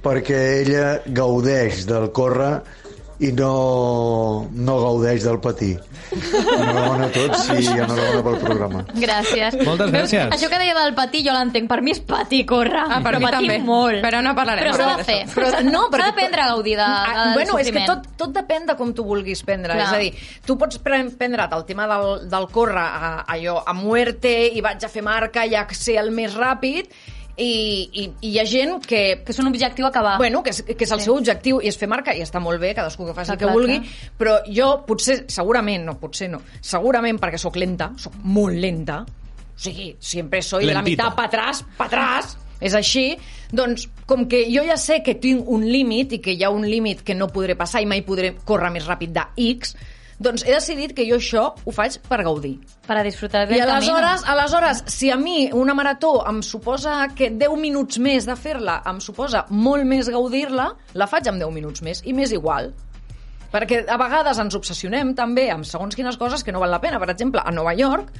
Speaker 6: perquè ella gaudeix del córrer i no, no gaudeix del patir. Enhorabona a tots i enhorabona pel programa.
Speaker 2: Gràcies.
Speaker 1: Moltes
Speaker 2: Veus?
Speaker 1: gràcies.
Speaker 2: Això que deia del patí, jo l'entenc. Per mi és patí, corre.
Speaker 3: Ah, per
Speaker 2: Però
Speaker 3: mi
Speaker 2: patí
Speaker 3: també.
Speaker 2: molt.
Speaker 3: Però no parlarem
Speaker 2: Però s'ha
Speaker 3: ara
Speaker 2: de fer.
Speaker 3: d'això.
Speaker 2: Però,
Speaker 5: Però-
Speaker 2: no,
Speaker 5: no,
Speaker 2: s'ha
Speaker 5: perquè-
Speaker 2: d'aprendre a gaudir de, de,
Speaker 5: Ah,
Speaker 2: del
Speaker 5: bueno, és que
Speaker 2: sofriment.
Speaker 5: tot, tot depèn de com tu vulguis prendre.
Speaker 2: Clar.
Speaker 5: És a dir, tu pots pre prendre't el tema del, del córrer a, a, jo, a muerte i vaig a fer marca i a ser el més ràpid i, i, i hi ha gent que...
Speaker 2: Que és un objectiu acabar.
Speaker 5: Bueno, que és, que és el
Speaker 2: Sí.
Speaker 5: seu objectiu i és fer marca i està molt bé, cadascú que faci
Speaker 2: Està
Speaker 5: el que
Speaker 2: clar,
Speaker 5: vulgui,
Speaker 2: clar.
Speaker 5: però jo potser, segurament, no, potser no, segurament perquè sóc lenta, sóc molt lenta, o sigui, sempre soy de la
Speaker 1: Lentita.
Speaker 5: meitat pa atrás, pa atrás, és així, doncs com que jo ja sé que tinc un límit i que hi ha un límit que no podré passar i mai podré córrer més ràpid de X, doncs he decidit que jo això ho faig per gaudir.
Speaker 2: Per a disfrutar del
Speaker 5: I
Speaker 2: camí.
Speaker 5: aleshores, aleshores, si a mi una marató em suposa que 10 minuts més de fer-la em suposa molt més gaudir-la, la faig amb 10 minuts més i m'és igual. Perquè a vegades ens obsessionem també amb segons quines coses que no val la pena. Per exemple, a Nova York,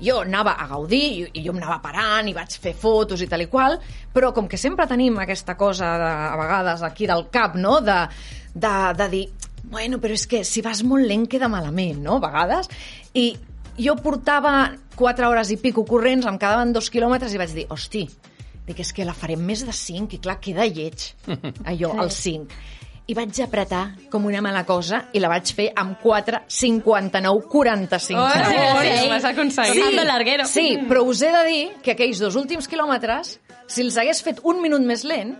Speaker 5: jo anava a gaudir i, i jo em anava parant i vaig fer fotos i tal i qual, però com que sempre tenim aquesta cosa de, a vegades aquí del cap, no?, de, de, de dir, bueno, però és que si vas molt lent queda malament, no?, a vegades. I jo portava 4 hores i pico corrents, em quedaven dos quilòmetres i vaig dir, hosti, dic, és que la farem més de 5 i clar, queda lleig, allò, el 5. I vaig apretar com una mala cosa i la vaig fer amb 4, 59, 45
Speaker 3: Oh,
Speaker 5: segons.
Speaker 3: sí, ho has aconseguit.
Speaker 5: Sí,
Speaker 2: Ando larguero.
Speaker 5: sí, però us he de dir que aquells dos últims quilòmetres, si els hagués fet un minut més lent,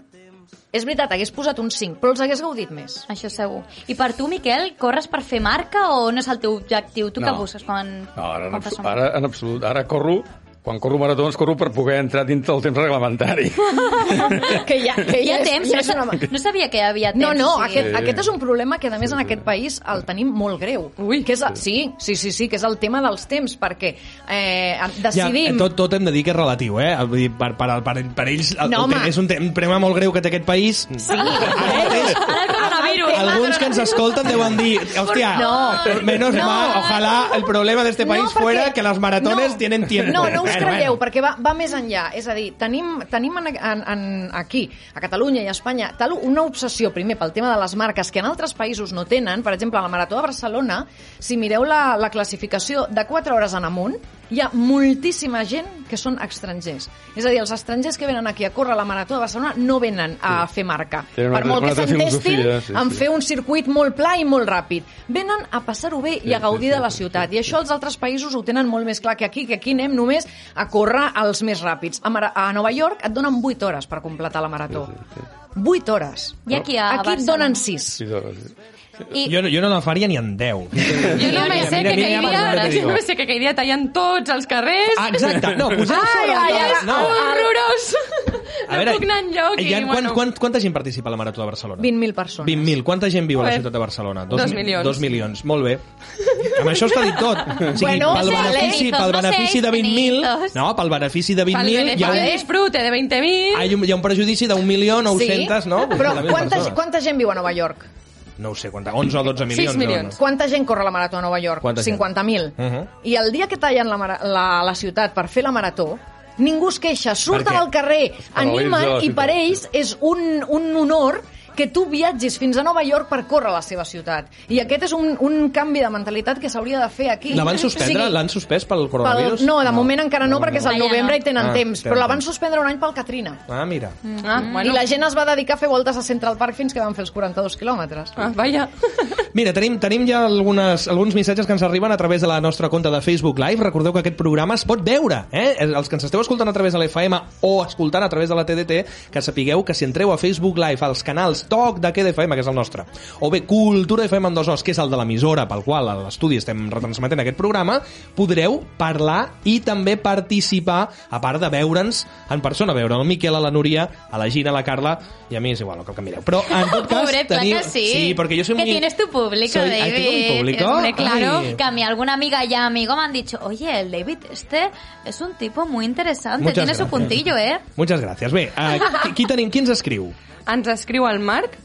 Speaker 5: és veritat, hagués posat un 5, però els hagués gaudit més.
Speaker 2: Això segur. I per tu, Miquel, corres per fer marca o no és el teu objectiu? Tu què
Speaker 4: No.
Speaker 2: busques quan,
Speaker 4: No, ara, en
Speaker 2: quan fas
Speaker 4: absolut,
Speaker 2: una
Speaker 4: ara en absolut. Ara corro, quan corro maratons, corro per poder entrar dintre del temps reglamentari.
Speaker 5: Que ja, que
Speaker 2: Hi ha
Speaker 5: és-
Speaker 2: temps?
Speaker 5: ja
Speaker 2: no,
Speaker 5: és una...
Speaker 2: sa- no sabia que hi havia temps.
Speaker 5: No, no,
Speaker 2: sí.
Speaker 5: aquest, aquest és un problema que, a més, en aquest país el tenim molt greu.
Speaker 3: Ui.
Speaker 5: que és, el- sí, sí, sí, sí, que és el tema dels temps, perquè eh,
Speaker 1: Ja,
Speaker 5: decidim...
Speaker 1: tot, tot hem de dir que és relatiu, eh? Vull dir, per, per, per, per ells el,
Speaker 5: No,
Speaker 1: el
Speaker 5: home.
Speaker 1: tema és un tem- problema molt greu que té aquest país. Sí. Ara mateix,
Speaker 2: Ara el coronavirus.
Speaker 1: alguns que ens escolten deuen dir, hòstia,
Speaker 5: No.
Speaker 1: menos
Speaker 5: No.
Speaker 1: mal, ojalá el problema d'este país
Speaker 5: perquè-
Speaker 1: fuera que las maratones
Speaker 5: no,
Speaker 1: tienen tiempo.
Speaker 5: No, no us
Speaker 1: Bueno,
Speaker 5: creieu,
Speaker 1: bueno.
Speaker 5: perquè va, va més enllà. És a dir, tenim, tenim en, en, en, aquí, a Catalunya i a Espanya, tal una obsessió, primer, pel tema de les marques, que en altres països no tenen. Per exemple, a la Marató de Barcelona, si mireu la, la classificació de 4 hores en amunt, hi ha moltíssima gent que són estrangers. És a dir, els estrangers que venen aquí a córrer la Marató de Barcelona no venen a fer marca.
Speaker 4: Tenen una
Speaker 5: per molt que
Speaker 4: altra- una altra
Speaker 5: s'entestin
Speaker 4: filosofia, sí,
Speaker 5: en
Speaker 4: sí.
Speaker 5: fer un circuit molt pla i molt ràpid. Venen a passar-ho bé i a gaudir de la ciutat. I això els altres països ho tenen molt més clar que aquí, que aquí anem només a córrer els més ràpids. A, Mara a Nova York et donen 8 hores per completar la marató. 8 hores.
Speaker 2: I aquí a
Speaker 5: Aquí et
Speaker 2: Barcelona.
Speaker 5: donen 6.
Speaker 4: Sí, doncs, sí.
Speaker 2: I,
Speaker 1: Jo, no- jo no la faria ni en 10.
Speaker 3: Jo
Speaker 2: Mira,
Speaker 3: només
Speaker 2: mira,
Speaker 3: sé
Speaker 2: mira, mira,
Speaker 3: que aquell
Speaker 2: mira, mira,
Speaker 3: dia,
Speaker 1: mira.
Speaker 3: jo només sé que aquell dia tallen tots els carrers.
Speaker 1: Ah, exacte, no, posem
Speaker 5: Ai,
Speaker 1: sobre
Speaker 5: ai,
Speaker 1: la-
Speaker 5: ai,
Speaker 3: És
Speaker 1: no. eh,
Speaker 5: ai.
Speaker 3: horrorós. No puc anar enlloc i,
Speaker 1: hi ha, quan,
Speaker 3: bueno.
Speaker 1: quan, quanta gent participa a la Marató de Barcelona?
Speaker 5: 20.000 persones.
Speaker 1: 20.000. Quanta gent viu a la
Speaker 3: Joder.
Speaker 1: ciutat de Barcelona?
Speaker 3: Dos
Speaker 1: mi-
Speaker 3: milions.
Speaker 1: Dos milions, molt bé. Amb això està dit tot. O sigui,
Speaker 5: Bueno,
Speaker 1: pel
Speaker 5: no seas
Speaker 1: benefici,
Speaker 2: benitos,
Speaker 1: pel
Speaker 2: no
Speaker 1: benefici
Speaker 2: seas
Speaker 1: de 20.000...
Speaker 2: benitos.
Speaker 1: No, pel benefici de
Speaker 3: Pel
Speaker 1: 20.000 hi ha
Speaker 3: benefici
Speaker 1: un...
Speaker 3: disfrute de
Speaker 1: Hi
Speaker 3: 20.000...
Speaker 1: ha un, hi ha un prejudici d'un milió nou-centes, no? Vull dir,
Speaker 5: Però
Speaker 1: la meva
Speaker 5: quanta,
Speaker 1: persona.
Speaker 5: quanta gent viu a Nova York?
Speaker 1: No ho sé, quanta, 11 o 12 milions.
Speaker 3: milions.
Speaker 5: Quanta gent corre la marató a Nova York?
Speaker 1: Quanta gent?
Speaker 5: 50.000.
Speaker 1: Mhm.
Speaker 5: I el dia que tallen la, mara- la, la ciutat per fer la marató, ningú es queixa, surten
Speaker 1: què?
Speaker 5: al carrer,
Speaker 4: la
Speaker 5: animen, i
Speaker 4: ciutat.
Speaker 5: per ells és un, un honor que tu viatgis fins a Nova York per córrer la seva ciutat. I aquest és un, un canvi de mentalitat que s'hauria de fer aquí.
Speaker 1: La van
Speaker 5: O
Speaker 1: suspendre?
Speaker 5: sigui,
Speaker 1: L'han suspès pel
Speaker 5: Pel,
Speaker 1: coronavirus?
Speaker 5: no, de moment encara no, perquè és al
Speaker 2: Encara no.
Speaker 5: novembre i
Speaker 1: Ah,
Speaker 5: tenen temps. Però
Speaker 1: tenen
Speaker 5: la van
Speaker 1: temps.
Speaker 5: suspendre un any pel Katrina.
Speaker 1: Ah, mira.
Speaker 3: Ah,
Speaker 5: Bueno. I la gent es va dedicar a fer voltes a Central Park fins que van fer els 42 quilòmetres.
Speaker 3: Ah, vaja.
Speaker 1: Mira, tenim, tenim ja algunes, alguns missatges que ens arriben a través de la nostra compte de Facebook Live. Recordeu que aquest programa es pot veure, eh? Els que ens esteu escoltant a través de l'FM o escoltant a través de la TDT, que sapigueu que si entreu a Facebook Live als canals TOC de QDFM, que és el nostre, o bé Cultura FM amb dos os, que és el de l'emissora pel qual a l'estudi estem retransmetent aquest programa, podreu parlar i també participar, a part de veure'ns en persona, veure el Miquel, a la Núria, a la Gina, a la Carla, i a mi és igual el que em mireu. Però en tot cas,
Speaker 2: Pobre,
Speaker 1: teniu...
Speaker 2: placa, sí.
Speaker 1: sí, porque yo soy
Speaker 2: Que
Speaker 1: muy-
Speaker 2: tienes tu público,
Speaker 1: Soy-
Speaker 2: David.
Speaker 1: ¿Ah, tengo mi público?
Speaker 2: Hombre, claro,
Speaker 1: Ay.
Speaker 2: que a mí alguna amiga ya amigo me han dicho, oye, el David este es un tipo muy interesante,
Speaker 1: Muchas
Speaker 2: tiene su
Speaker 1: gracias.
Speaker 2: puntillo, ¿eh?
Speaker 1: Muchas gracias. Bé, eh, qui- qui, tenim, qui ens escriu?
Speaker 3: Ens escriu el Marc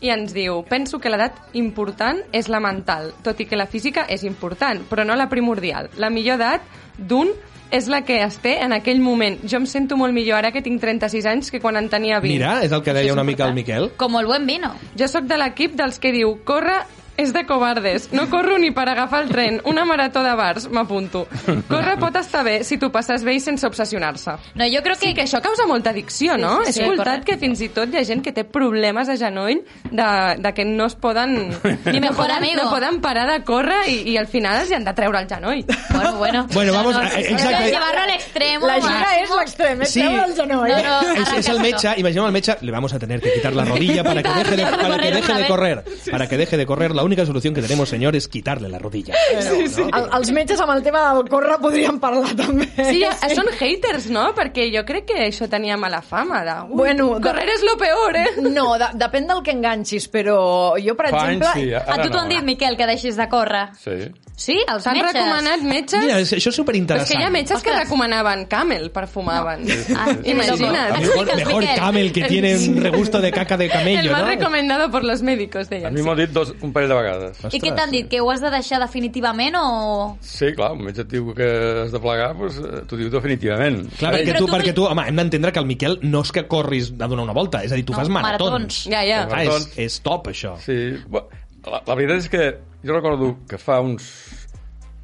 Speaker 3: i ens diu Penso que l'edat important és la mental, tot i que la física és important, però no la primordial. La millor edat d'un és la que es té en aquell moment. Jo em sento molt millor ara que tinc 36 anys que quan en tenia 20.
Speaker 1: Mira, és el que deia una mica el Miquel.
Speaker 2: Como el buen vino.
Speaker 3: Jo sóc de l'equip dels que diu corre és de covardes. No corro ni per agafar el tren. Una marató de bars, m'apunto. Corre pot estar bé si t'ho passes bé i sense obsessionar-se.
Speaker 2: No, yo creo que...
Speaker 3: Sí, que això causa molta addicció, no?
Speaker 2: Sí, sí, sí,
Speaker 3: He escoltat
Speaker 2: correcte.
Speaker 3: que fins i tot hi ha gent que té problemes de genoll de, de que no es poden...
Speaker 2: Mi
Speaker 3: no
Speaker 2: mejor
Speaker 3: poden-
Speaker 2: amigo.
Speaker 3: No poden parar de córrer i, i al final els hi han de treure el genoll.
Speaker 2: Bueno, bueno.
Speaker 1: Bueno, vamos, eh, exacte.
Speaker 2: Llevarlo al extremo.
Speaker 5: La gira
Speaker 2: máximo.
Speaker 5: és l'extrem, eh?
Speaker 1: Sí.
Speaker 5: Treu el genoll.
Speaker 2: No, no.
Speaker 1: es, es el mecha, imagina al mecha, le vamos a tener que quitar la rodilla para que deje de,
Speaker 2: Dejar de
Speaker 1: para que
Speaker 2: correr
Speaker 1: deje
Speaker 2: una
Speaker 1: de
Speaker 2: vez.
Speaker 1: correr. Para que deje de correr, la única solución que tenemos, señor, es quitarle la rodilla.
Speaker 5: Sí, sí. El, els metges amb el tema del córrer podrien parlar també.
Speaker 3: Sí, ja, són haters, no? Perquè jo crec que això tenia mala fama de... Ui,
Speaker 5: Bueno, de-
Speaker 3: correr és lo peor, eh?
Speaker 2: Mm.
Speaker 5: No, de, depèn del que enganxis, però jo, per
Speaker 4: Fa anys,
Speaker 5: exemple...
Speaker 4: sí,
Speaker 2: A
Speaker 4: ara
Speaker 2: tu t'ho
Speaker 4: no.
Speaker 2: han dit, Miquel, que deixis de córrer.
Speaker 4: Sí.
Speaker 2: Sí, els
Speaker 3: S'han
Speaker 2: metges.
Speaker 3: recomanat metges...
Speaker 1: Mira, és- això és
Speaker 2: Pues
Speaker 3: però és
Speaker 1: superinteressant.
Speaker 3: que hi ha metges que
Speaker 2: Ostres.
Speaker 3: recomanaven camel per fumaven.
Speaker 2: Ah,
Speaker 1: A
Speaker 3: Imagina't.
Speaker 2: sí,
Speaker 1: Mejor,
Speaker 2: Explica'ls,
Speaker 1: mejor
Speaker 2: Miquel.
Speaker 1: camel que tiene un regusto de caca de
Speaker 3: El
Speaker 1: camello,
Speaker 3: más
Speaker 1: ¿no?
Speaker 3: recomendado por los médicos,
Speaker 4: A
Speaker 3: deien.
Speaker 4: mi m'ho ha dit dos, un parell de vegades.
Speaker 2: I què t'han dit? Que ho has de deixar definitivament o...?
Speaker 4: Sí, clar, un metge et diu que has de plegar, doncs, eh, t'ho diu definitivament.
Speaker 1: Clar, perquè
Speaker 2: Però
Speaker 1: tu,
Speaker 2: tu-
Speaker 1: perquè tu, home, hem d'entendre que el Miquel no és que corris a donar una volta, és a dir, tu
Speaker 2: No,
Speaker 1: fas maratons.
Speaker 2: maratons.
Speaker 3: Ja, ja.
Speaker 1: Clar, és, és top, això.
Speaker 4: Sí, bo- la, la veritat és que jo recordo que fa uns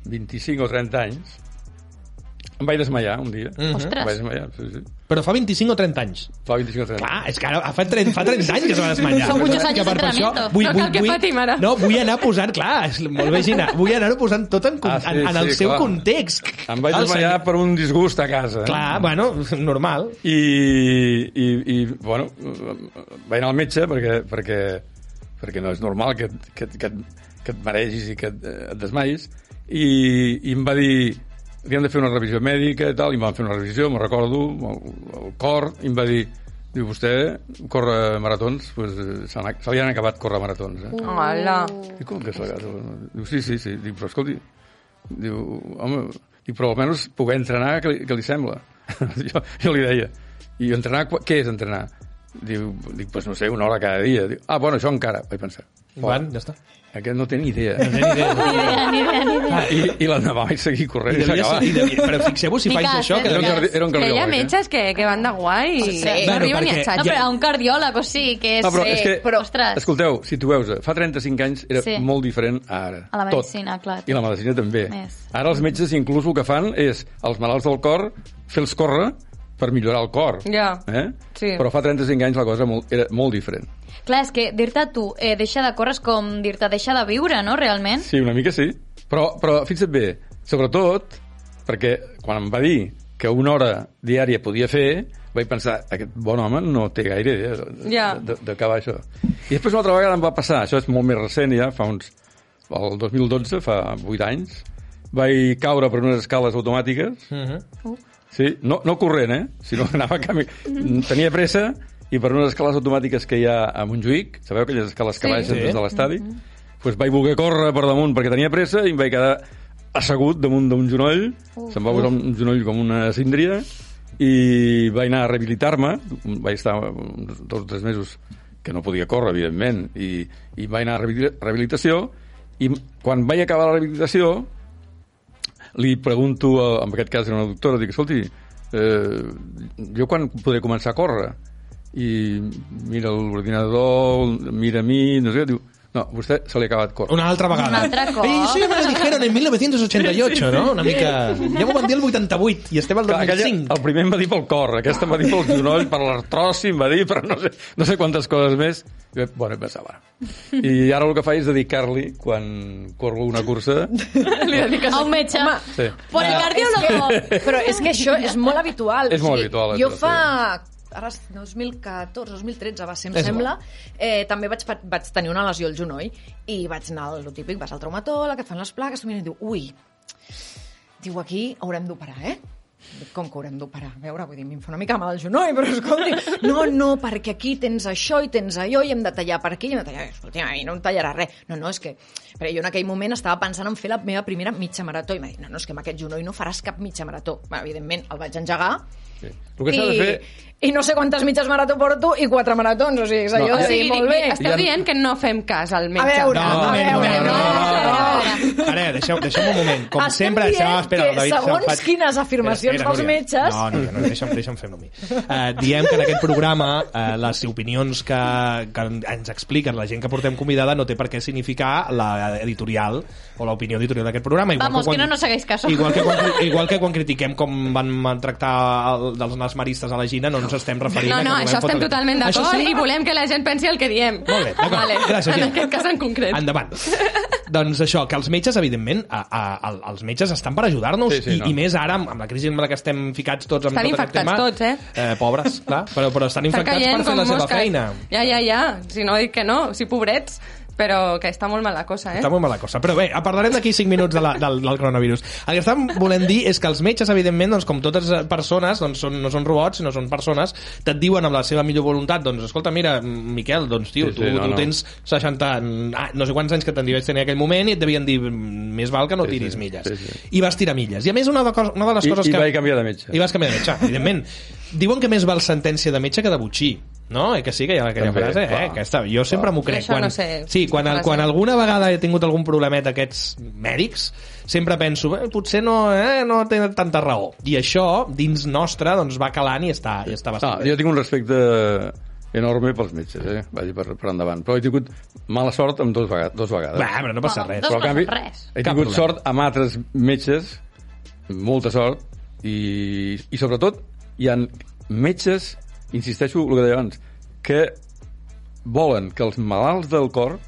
Speaker 4: 25 o 30 anys em vaig desmaiar un dia.
Speaker 1: Mm-hmm.
Speaker 4: Mm
Speaker 2: Ostres.
Speaker 4: Em vaig desmaiar, sí, sí.
Speaker 1: Però fa 25 o 30 anys.
Speaker 4: Fa 25 o 30
Speaker 1: Clar, és que ara fa, 30, fa 30 anys que es va desmanyar.
Speaker 2: Són muchos años
Speaker 1: Que per
Speaker 2: de
Speaker 1: això
Speaker 2: entrenamiento.
Speaker 1: Vull,
Speaker 3: No
Speaker 1: vull,
Speaker 3: cal que
Speaker 1: vull,
Speaker 3: patim ara.
Speaker 1: No, vull anar posant, clar, és, molt bé, Gina, vull anar-ho posant tot en, con-
Speaker 4: Ah, sí,
Speaker 1: en, en el
Speaker 4: sí,
Speaker 1: seu
Speaker 4: clar.
Speaker 1: context.
Speaker 4: Em vaig
Speaker 1: El
Speaker 4: desmaiar
Speaker 1: senyor-
Speaker 4: per un disgust a casa. eh?
Speaker 1: Clar, bueno, normal.
Speaker 4: I, i, i bueno, vaig anar al metge perquè, perquè, perquè no és normal que, et- que, et- que, et- que et maregis i que et, eh, et desmais. I, I em va dir li han de fer una revisió mèdica i tal, i em van fer una revisió, me'n recordo, el, el cor, i em va dir, diu, vostè corre maratons, pues, eh, se, n'ha- se li han acabat córrer maratons. Eh?
Speaker 3: Hola.
Speaker 4: I com que s'ha acabat? Diu, sí, sí, sí. Diu, però escolti, diu, home, diu, però almenys poder entrenar, que li, que li sembla? jo, jo li deia, i entrenar, qu- què és entrenar? Diu, dic, pues no sé, una hora cada dia. Diu, ah, bueno, això encara, vaig pensar.
Speaker 1: Van, ja està.
Speaker 4: Aquest no té ni idea.
Speaker 2: Ni idea, ni idea, ni idea.
Speaker 4: Ah, I, i l'endemà vaig seguir corrent i,
Speaker 1: I
Speaker 4: s'ha
Speaker 1: devia, ser- i
Speaker 4: acabat.
Speaker 1: devia, però fixeu-vos si
Speaker 2: Ni
Speaker 1: faig
Speaker 2: cas,
Speaker 1: això.
Speaker 2: eh,
Speaker 1: Que
Speaker 4: Era un,
Speaker 1: devia,
Speaker 4: cardi, era un
Speaker 3: Que hi ha
Speaker 4: cardiòleg. eh?
Speaker 3: metges que, que van de guai i
Speaker 5: Sí.
Speaker 3: no
Speaker 5: Bueno,
Speaker 3: arriben ni
Speaker 1: perquè-
Speaker 3: a xatxa.
Speaker 2: No,
Speaker 1: Ja.
Speaker 2: però a un cardiòleg o sí, que és...
Speaker 4: No, Ah, però
Speaker 2: Sí,
Speaker 4: és que-
Speaker 5: però-
Speaker 2: Ostres.
Speaker 4: Escolteu, situeu vos eh, fa 35 anys era
Speaker 2: Sí.
Speaker 4: sí. molt diferent a ara.
Speaker 2: A la
Speaker 4: Tot.
Speaker 2: medicina, clar.
Speaker 4: I la medicina també.
Speaker 2: Més.
Speaker 4: Ara els metges inclús el que fan és, als malalts del cor, fer-los córrer per millorar el cor.
Speaker 3: Ja.
Speaker 4: Eh?
Speaker 3: Sí.
Speaker 4: Però fa 35 anys la cosa molt, era molt diferent.
Speaker 2: Clar, és que dir-te tu, eh, deixa de córrer és com dir-te deixa de viure, no, realment?
Speaker 4: Sí, una mica sí. Però, però fixa't bé, sobretot perquè quan em va dir que una hora diària podia fer, vaig pensar, aquest bon home no té gaire idea de, de,
Speaker 3: Ja.
Speaker 4: de, de què va això. I després una altra vegada em va passar, això és molt més recent ja, fa uns... el 2012, fa 8 anys, vaig caure per unes escales automàtiques, Sí, no, no corrent, eh? Sinó que anava camí... Tenia pressa i per unes escales automàtiques que hi ha a Montjuïc, sabeu aquelles escales que
Speaker 5: Sí.
Speaker 4: baixen
Speaker 1: Sí.
Speaker 4: des de l'estadi? Doncs vaig voler córrer per damunt perquè tenia pressa i em vaig quedar assegut damunt d'un genoll, se'm va posar un genoll com una síndria i vaig anar a rehabilitar-me, vaig estar uns dos o tres mesos que no podia córrer, evidentment, i, i vaig anar a rehabil- rehabilitació i quan vaig acabar la rehabilitació li pregunto, a, en aquest cas era una doctora, dic, escolti, eh, jo quan podré començar a córrer? I mira l'ordinador, mira a mi, no sé què, diu, no, a vostè se li ha acabat córrer.
Speaker 1: Una altra vegada.
Speaker 2: Un altre cop.
Speaker 1: I això ja me lo dijeron en 1988, no? Una mica... Ja m'ho van dir el 88 i estem al
Speaker 4: Clar, aquella,
Speaker 1: 2005.
Speaker 4: el primer em va dir pel cor, aquesta em va dir pel genoll, per l'artrosi, em va dir, però no sé, no sé quantes coses més. I, vaig, bueno, em pensava. I ara el que faig és dedicar-li, quan corro una cursa...
Speaker 3: Li dediques...
Speaker 2: A un metge.
Speaker 4: Sí.
Speaker 2: Por el cardiólogo.
Speaker 5: Però és que això és molt habitual.
Speaker 4: És molt
Speaker 5: O sigui,
Speaker 4: habitual,
Speaker 5: Jo
Speaker 4: això,
Speaker 5: fa... Ara, és 2014, 2013 va ser, em
Speaker 4: És
Speaker 5: sembla.
Speaker 4: igual.
Speaker 5: Eh, també vaig, pa- vaig tenir una lesió al genoll i vaig anar, al- lo típic, vas al traumatòleg, que et fan les plaques, tu miren i diu, ui, diu, aquí haurem d'operar, eh? Dic, Com que haurem d'operar? A veure, vull dir, a mi em fa una mica mal el genoll, però escolti, no, no, perquè aquí tens això i tens allò i hem de tallar per aquí i hem de tallar... Escolti, a mi no em tallarà res. No, no, és que... Però jo en aquell moment estava pensant en fer la meva primera mitja marató i m'ha dit, no, no, és que amb aquest genoll no faràs cap mitja marató. Bé, evidentment, el vaig engegar
Speaker 4: Sí. El que s'ha de fer...
Speaker 5: i no sé quantes mitges marató porto i quatre maratons, o sigui, és allò
Speaker 4: No,
Speaker 5: no,
Speaker 4: ah,
Speaker 5: de
Speaker 4: sí,
Speaker 5: dir,
Speaker 3: dic,
Speaker 5: molt bé.
Speaker 4: Ja-
Speaker 3: Esteu dient que no fem cas al
Speaker 5: A
Speaker 3: metge.
Speaker 5: veure,
Speaker 1: No,
Speaker 5: a
Speaker 1: no, no,
Speaker 5: veure,
Speaker 1: no, no,
Speaker 5: no,
Speaker 1: no. Ara, deixeu, deixeu un moment. Com
Speaker 5: Estem
Speaker 1: sempre,
Speaker 5: dient
Speaker 1: deixeu, espera,
Speaker 5: que
Speaker 1: el David,
Speaker 5: segons
Speaker 1: se'n faig-
Speaker 5: quines
Speaker 1: Espera,
Speaker 5: afirmacions
Speaker 1: espera,
Speaker 5: pels
Speaker 1: Núria.
Speaker 5: metges-
Speaker 1: No, no, no, deixa'm, deixa'm fer-ho a mi. Uh, diem que en aquest programa uh, les opinions que, que ens expliquen la gent que portem convidada no té per què significar l'editorial o l'opinió editorial d'aquest programa.
Speaker 2: Vamos, que no nos hagáis caso.
Speaker 1: Igual que, quan, igual que quan critiquem com van tractar el, dels nasmaristes a la Gina, no ens estem referint
Speaker 3: No,
Speaker 1: a que
Speaker 3: no,
Speaker 1: volem
Speaker 3: això estem
Speaker 1: fotre-
Speaker 3: totalment
Speaker 1: Això
Speaker 3: d'acord
Speaker 1: sí?
Speaker 3: i volem que la gent pensi el que diem.
Speaker 1: Molt bé, d'acord.
Speaker 3: Vale.
Speaker 1: Gràcies,
Speaker 3: En
Speaker 1: Gina.
Speaker 3: aquest cas en concret.
Speaker 1: Endavant. doncs això, que els metges, evidentment, a, a, a, els metges estan per ajudar-nos
Speaker 4: Sí, sí,
Speaker 1: i,
Speaker 4: no.
Speaker 1: i més ara, amb, amb la crisi en la que estem ficats tots amb
Speaker 3: Estan
Speaker 1: tot aquest
Speaker 3: infectats
Speaker 1: tema.
Speaker 3: tots, eh?
Speaker 1: eh? Pobres, clar, però, però estan
Speaker 3: Està
Speaker 1: infectats per fer la seva feina.
Speaker 3: Ja, ja, ja. Si no, dic que no. Si pobrets, però que està molt mala cosa, eh?
Speaker 1: Està molt mala cosa. Però bé, parlarem d'aquí 5 minuts de la, del, del coronavirus. El que estàvem volent dir és que els metges, evidentment, doncs, com totes eh, persones, doncs, són, no són robots, sinó són persones, te't diuen amb la seva millor voluntat, doncs, escolta, mira, Miquel, doncs, tio,
Speaker 4: Sí,
Speaker 1: sí, sí,
Speaker 4: sí,
Speaker 1: tu,
Speaker 4: no,
Speaker 1: no, tu
Speaker 4: no.
Speaker 1: tens 60... Ah, no sé quants anys que te'n devies tenir en aquell moment i et devien dir, "Mm, més val que no
Speaker 4: Sí, sí,
Speaker 1: tiris milles.
Speaker 4: sí, sí.
Speaker 1: I vas tirar milles. I a més, una de, cos, una de les
Speaker 4: I,
Speaker 1: coses
Speaker 4: i
Speaker 1: que...
Speaker 4: vaig canviar de metge.
Speaker 1: I vas canviar de metge, evidentment. Diuen que més val sentència de metge que de butxí. No? Eh que sí, que hi ha aquella
Speaker 4: També,
Speaker 1: frase,
Speaker 4: clar.
Speaker 1: eh? Aquesta, jo sempre m'ho crec.
Speaker 3: Això no sé,
Speaker 1: sí, quan,
Speaker 3: aquesta
Speaker 1: quan
Speaker 3: frase.
Speaker 1: alguna vegada he tingut algun problemet aquests mèdics, sempre penso, eh, potser no, eh, no té tanta raó. I això, dins nostre, doncs va calant i està, i està
Speaker 4: No,
Speaker 1: bastant
Speaker 4: jo
Speaker 1: bé.
Speaker 4: tinc un respecte enorme pels metges, eh? Vagi per, per endavant. Però he tingut mala sort amb dos, vegades, dos vegades.
Speaker 1: Va, però no passa
Speaker 2: Bueno,
Speaker 1: res.
Speaker 2: dos-
Speaker 4: però, en canvi,
Speaker 2: res.
Speaker 4: he
Speaker 1: Cap
Speaker 4: tingut
Speaker 1: problema.
Speaker 4: sort amb altres metges, molta sort, i, i sobretot hi han metges, insisteixo el que deia abans, que volen que els malalts del cor,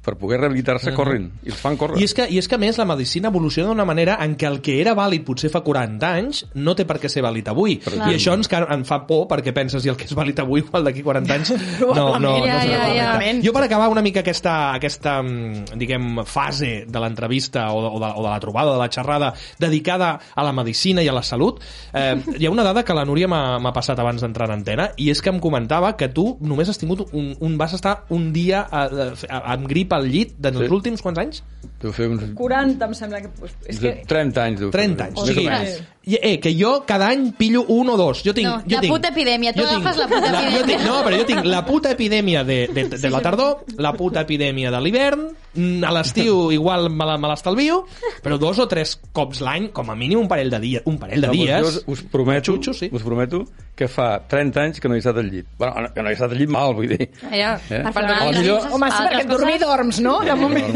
Speaker 4: per poder rehabilitar-se, corrin. I els fan córrer.
Speaker 1: I és, que, I és que, a més, la medicina evoluciona d'una manera en què el que era vàlid potser fa 40 anys no té per què ser vàlid avui. I això ens, ca- en fa por perquè penses i el que és vàlid avui igual d'aquí 40 anys no, no, no,
Speaker 5: Probablement,
Speaker 1: serà
Speaker 3: ja, ja,
Speaker 1: correcte.
Speaker 5: ja.
Speaker 1: Jo per acabar una mica aquesta, aquesta mm, diguem, fase de l'entrevista o, de- o, de, o de la trobada, de la xerrada dedicada a la medicina i a la salut, eh, hi ha una dada que la Núria m'ha m'ha passat abans d'entrar en antena i és que em comentava que tu només has tingut un, un vas estar un dia a, a, amb grip al llit dels
Speaker 4: Sí.
Speaker 1: sí. últims quants anys?
Speaker 4: Deu fer uns
Speaker 5: 40, em sembla que... És que...
Speaker 4: 30 anys. Deu fer.
Speaker 1: 30 anys. O
Speaker 4: Més o
Speaker 1: sigui,
Speaker 4: menys.
Speaker 1: i- eh, que jo cada any pillo un o dos. Jo tinc,
Speaker 2: No,
Speaker 1: jo
Speaker 2: la
Speaker 1: tinc,
Speaker 2: puta epidèmia. Tu
Speaker 1: jo
Speaker 2: agafes
Speaker 1: tinc-
Speaker 2: la puta
Speaker 1: Jo
Speaker 2: epidèmia.
Speaker 1: tinc, no, però jo tinc la puta epidèmia de, de, de la tardor, la puta epidèmia de l'hivern, mm, a l'estiu igual me la- me l'estalvio, però dos o tres cops l'any, com a mínim un parell de dies. Un parell de
Speaker 4: No,
Speaker 1: dies.
Speaker 4: doncs jo us, us prometo,
Speaker 1: Xutxo, sí.
Speaker 4: us prometo que fa 30 anys que no he estat al llit. Bueno, no- que no he estat al llit mal, vull dir.
Speaker 3: Ja, per
Speaker 4: Eh?
Speaker 2: Per
Speaker 3: donar
Speaker 2: donar
Speaker 4: A la
Speaker 2: les
Speaker 4: millor-
Speaker 2: coses a
Speaker 5: Home, sí,
Speaker 2: altres
Speaker 5: perquè dormir
Speaker 2: persones.
Speaker 5: dorms, no? De moment.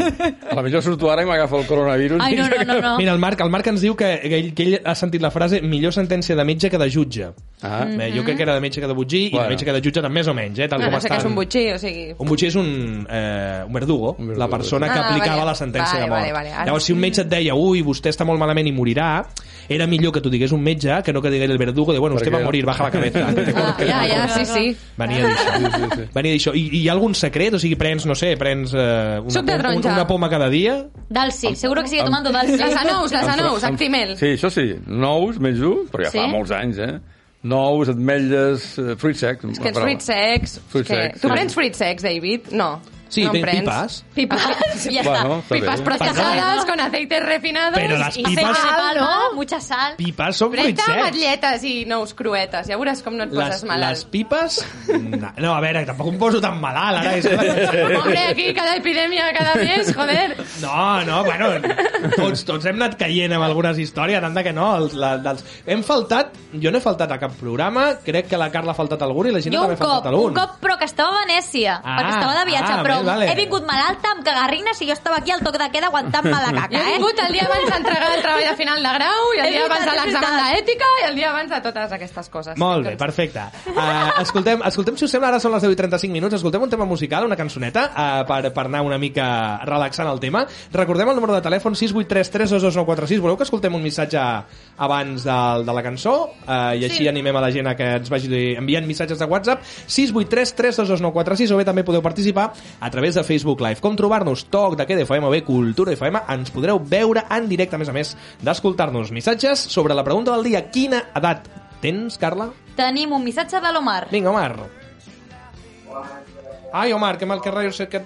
Speaker 4: A la millor surto ara i m'agafa el coronavirus.
Speaker 2: Ai, no, no, no, no.
Speaker 1: Mira, el Marc, el Marc ens diu que, que, ell, que ell ha sentit la frase millor sentència de metge que de jutge.
Speaker 4: Ah.
Speaker 1: Bé, jo crec que era de metge que de butxí i
Speaker 4: Bueno.
Speaker 1: de metge que de jutge també més o menys, eh, tal
Speaker 3: No,
Speaker 1: com
Speaker 3: no sé què
Speaker 1: estan.
Speaker 3: és un butxí, o sigui...
Speaker 1: Un butxí és un, eh, un, verdugo,
Speaker 4: Un verdugo,
Speaker 1: la persona que
Speaker 3: Ah,
Speaker 1: aplicava
Speaker 3: vale.
Speaker 1: la sentència
Speaker 3: Vale,
Speaker 1: de mort.
Speaker 3: vale, vale. Ah. Ara
Speaker 1: Llavors, si un metge et deia ui, vostè està molt malament i morirà, era millor que t'ho digués un metge que no que digués el verdugo de bueno,
Speaker 4: Perquè-
Speaker 1: usted va a morir, baja la cabeza. Vete con-
Speaker 3: Ah, ja, ja, sí, sí.
Speaker 1: Venia d'això.
Speaker 4: Sí, sí, sí.
Speaker 1: Venia d'això. I, I hi ha algun secret? O sigui, prens, no sé, prens eh, una,
Speaker 3: Suc de
Speaker 1: pom-
Speaker 3: taronja.
Speaker 1: una poma cada dia?
Speaker 2: Dalsi, seguro que sigue tomando Dalsi.
Speaker 3: Les anous, les anous,
Speaker 4: Amb-
Speaker 3: actimel.
Speaker 4: Sí, això sí. Nous, menys un, però ja
Speaker 2: Sí?
Speaker 4: fa molts anys, eh? Nous, ametlles, eh, fruits secs.
Speaker 3: És que els fruits secs...
Speaker 4: Fruits
Speaker 3: que...
Speaker 4: secs,
Speaker 3: Tu
Speaker 4: sí.
Speaker 3: prens fruits secs, David? No.
Speaker 1: Sí,
Speaker 3: no en
Speaker 1: tinc
Speaker 3: prens.
Speaker 1: pipes.
Speaker 2: Pipas, ya está.
Speaker 4: Ah, Bueno, està
Speaker 3: Pipas
Speaker 4: bé.
Speaker 3: procesadas con aceites refinados
Speaker 1: Pero las
Speaker 3: i
Speaker 1: pipas-
Speaker 2: Aceite de
Speaker 3: sal,
Speaker 4: Ah,
Speaker 2: palma,
Speaker 3: no?
Speaker 2: mucha sal.
Speaker 1: Pipes són fruits
Speaker 3: Freta,
Speaker 1: secs.
Speaker 3: batlletes i nous cruetes. Ja veuràs com no et
Speaker 1: Les,
Speaker 3: poses
Speaker 1: les
Speaker 3: malalt.
Speaker 1: pipes... No, no, a veure, tampoc em poso tan malalt, ara. És...
Speaker 3: Hombre, aquí cada epidèmia cada mes, joder.
Speaker 1: No, no, bueno, tots, tots hem anat caient amb algunes històries, tant de que no. Els, la, dels... Hem faltat, jo no he faltat a cap programa, crec que la Carla ha faltat a algun i la Gina
Speaker 2: Jo un
Speaker 1: també ha
Speaker 2: cop,
Speaker 1: faltat a
Speaker 2: un
Speaker 1: algun.
Speaker 2: cop, però que estava a Venècia,
Speaker 1: Ah,
Speaker 2: perquè estava de viatge,
Speaker 1: ah,
Speaker 2: però
Speaker 1: bé, vale.
Speaker 2: he vingut malalta amb cagarrines i jo estava aquí al toc de queda aguantant-me la caca,
Speaker 3: Jo he
Speaker 2: eh?
Speaker 3: vingut el dia abans d'entregar el treball de final de grau, i
Speaker 2: És
Speaker 3: el dia abans
Speaker 2: veritat,
Speaker 3: de
Speaker 2: és
Speaker 3: l'examen
Speaker 2: veritat.
Speaker 3: d'ètica, i el dia abans de totes aquestes coses.
Speaker 1: Molt bé, perfecte. Uh, escoltem, escoltem, si us sembla, ara són les 10 i 35 minuts, escoltem un tema musical, una cançoneta, uh, per, per anar una mica relaxant el tema. Recordem el número de telèfon 683322946. Voleu que escoltem un missatge abans de, de la cançó? Uh, I així
Speaker 3: Sí.
Speaker 1: animem a la gent a que ens vagi enviant missatges de WhatsApp 683322946 o bé també podeu participar a través de Facebook Live. Com trobar-nos? Toc de Queda FM o bé Cultura FM. Ens podreu veure en directe, a més a més, d'escoltar-nos. Missatges sobre la pregunta del dia. Quina edat tens, Carla?
Speaker 2: Tenim un missatge de l'Omar.
Speaker 1: Vinga, Omar. Ai, Omar, que mal que rayos que...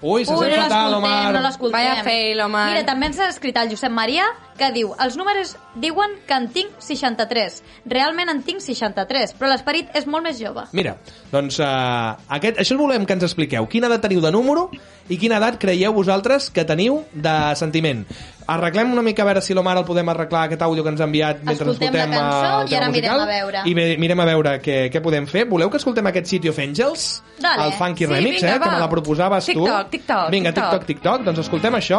Speaker 1: Ui, se
Speaker 2: Ui,
Speaker 1: sent
Speaker 2: no
Speaker 1: fatal,
Speaker 2: l'escoltem, no
Speaker 1: Omar.
Speaker 2: l'escoltem.
Speaker 3: Vaya fail, Omar.
Speaker 2: Mira, també ens ha escrit el Josep Maria, que diu els números diuen que en tinc 63. Realment en tinc 63, però l'esperit és molt més jove.
Speaker 1: Mira, doncs uh, aquest, això volem que ens expliqueu. Quina edat teniu de número i quina edat creieu vosaltres que teniu de sentiment? Arreglem una mica a veure si l'Omar el podem arreglar aquest àudio que ens ha enviat mentre
Speaker 2: Escoltem la
Speaker 1: escoltem
Speaker 2: cançó
Speaker 1: eh, el
Speaker 2: i
Speaker 1: tema
Speaker 2: ara mirem
Speaker 1: musical,
Speaker 2: a veure.
Speaker 1: I ve- mirem a veure què, què podem fer. Voleu que escoltem aquest City of Angels?
Speaker 2: Dale.
Speaker 1: El funky
Speaker 3: Sí,
Speaker 1: remix,
Speaker 3: vinga,
Speaker 1: eh, que
Speaker 3: va.
Speaker 1: me la proposaves
Speaker 3: TikTok,
Speaker 1: tu.
Speaker 3: TikTok,
Speaker 1: Vinga,
Speaker 3: TikTok.
Speaker 1: TikTok, TikTok. Doncs escoltem això.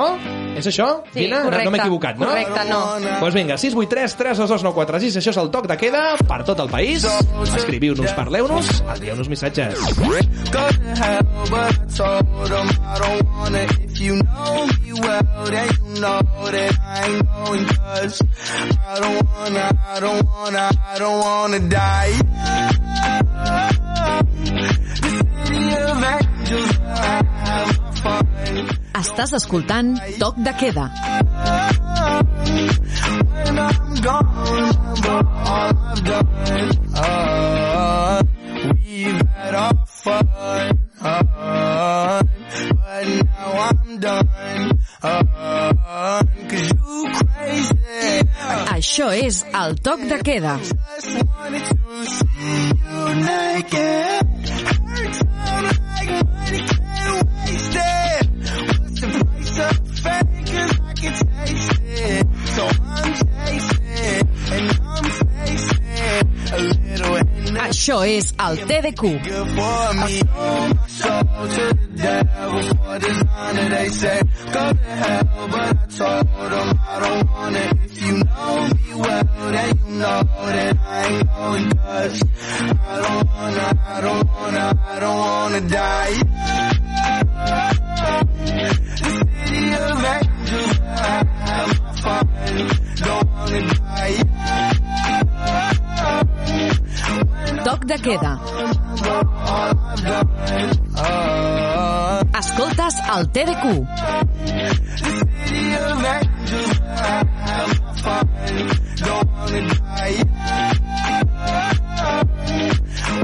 Speaker 1: És això?
Speaker 3: Sí,
Speaker 1: Gina? No-
Speaker 3: correcte.
Speaker 1: no m'he equivocat, no?
Speaker 3: Correcte, no.
Speaker 1: Doncs pues vinga, 683 322 946, això és el toc de queda per tot el país. Escriviu-nos, parleu-nos, envieu-nos missatges.
Speaker 7: Go to hell, but I told 'em I don't wanna. If you know me well, then you know that I ain't going 'cause I don't wanna, I don't wanna, I don't wanna die. The city of angels, I have fun.
Speaker 8: Estàs escoltant Toc de Queda.
Speaker 7: When I'm gone, but all I've done, uh, we've had our fun, uh, but now I'm done, uh, cause you crazy.
Speaker 8: Això és el Toc de Queda.
Speaker 7: Just wanted to see you naked. Hurts out like money can't waste it. What's the price of fame? 'Cause I can taste it. So I'm chasing, and I'm facing a little and
Speaker 8: Això és el TDQ.
Speaker 7: good for me. I sold my soul to the devil for dishonor. They said, go to hell, but I told them I don't want it. If you know me well, then you know that I ain't going cause I don't wanna, I don't wanna, I don't wanna die. The city of angels, I have my fun, don't wanna die.
Speaker 8: Toc de Queda. Escoltes el TDQ.
Speaker 7: City of angels, I have my fun, don't wanna die.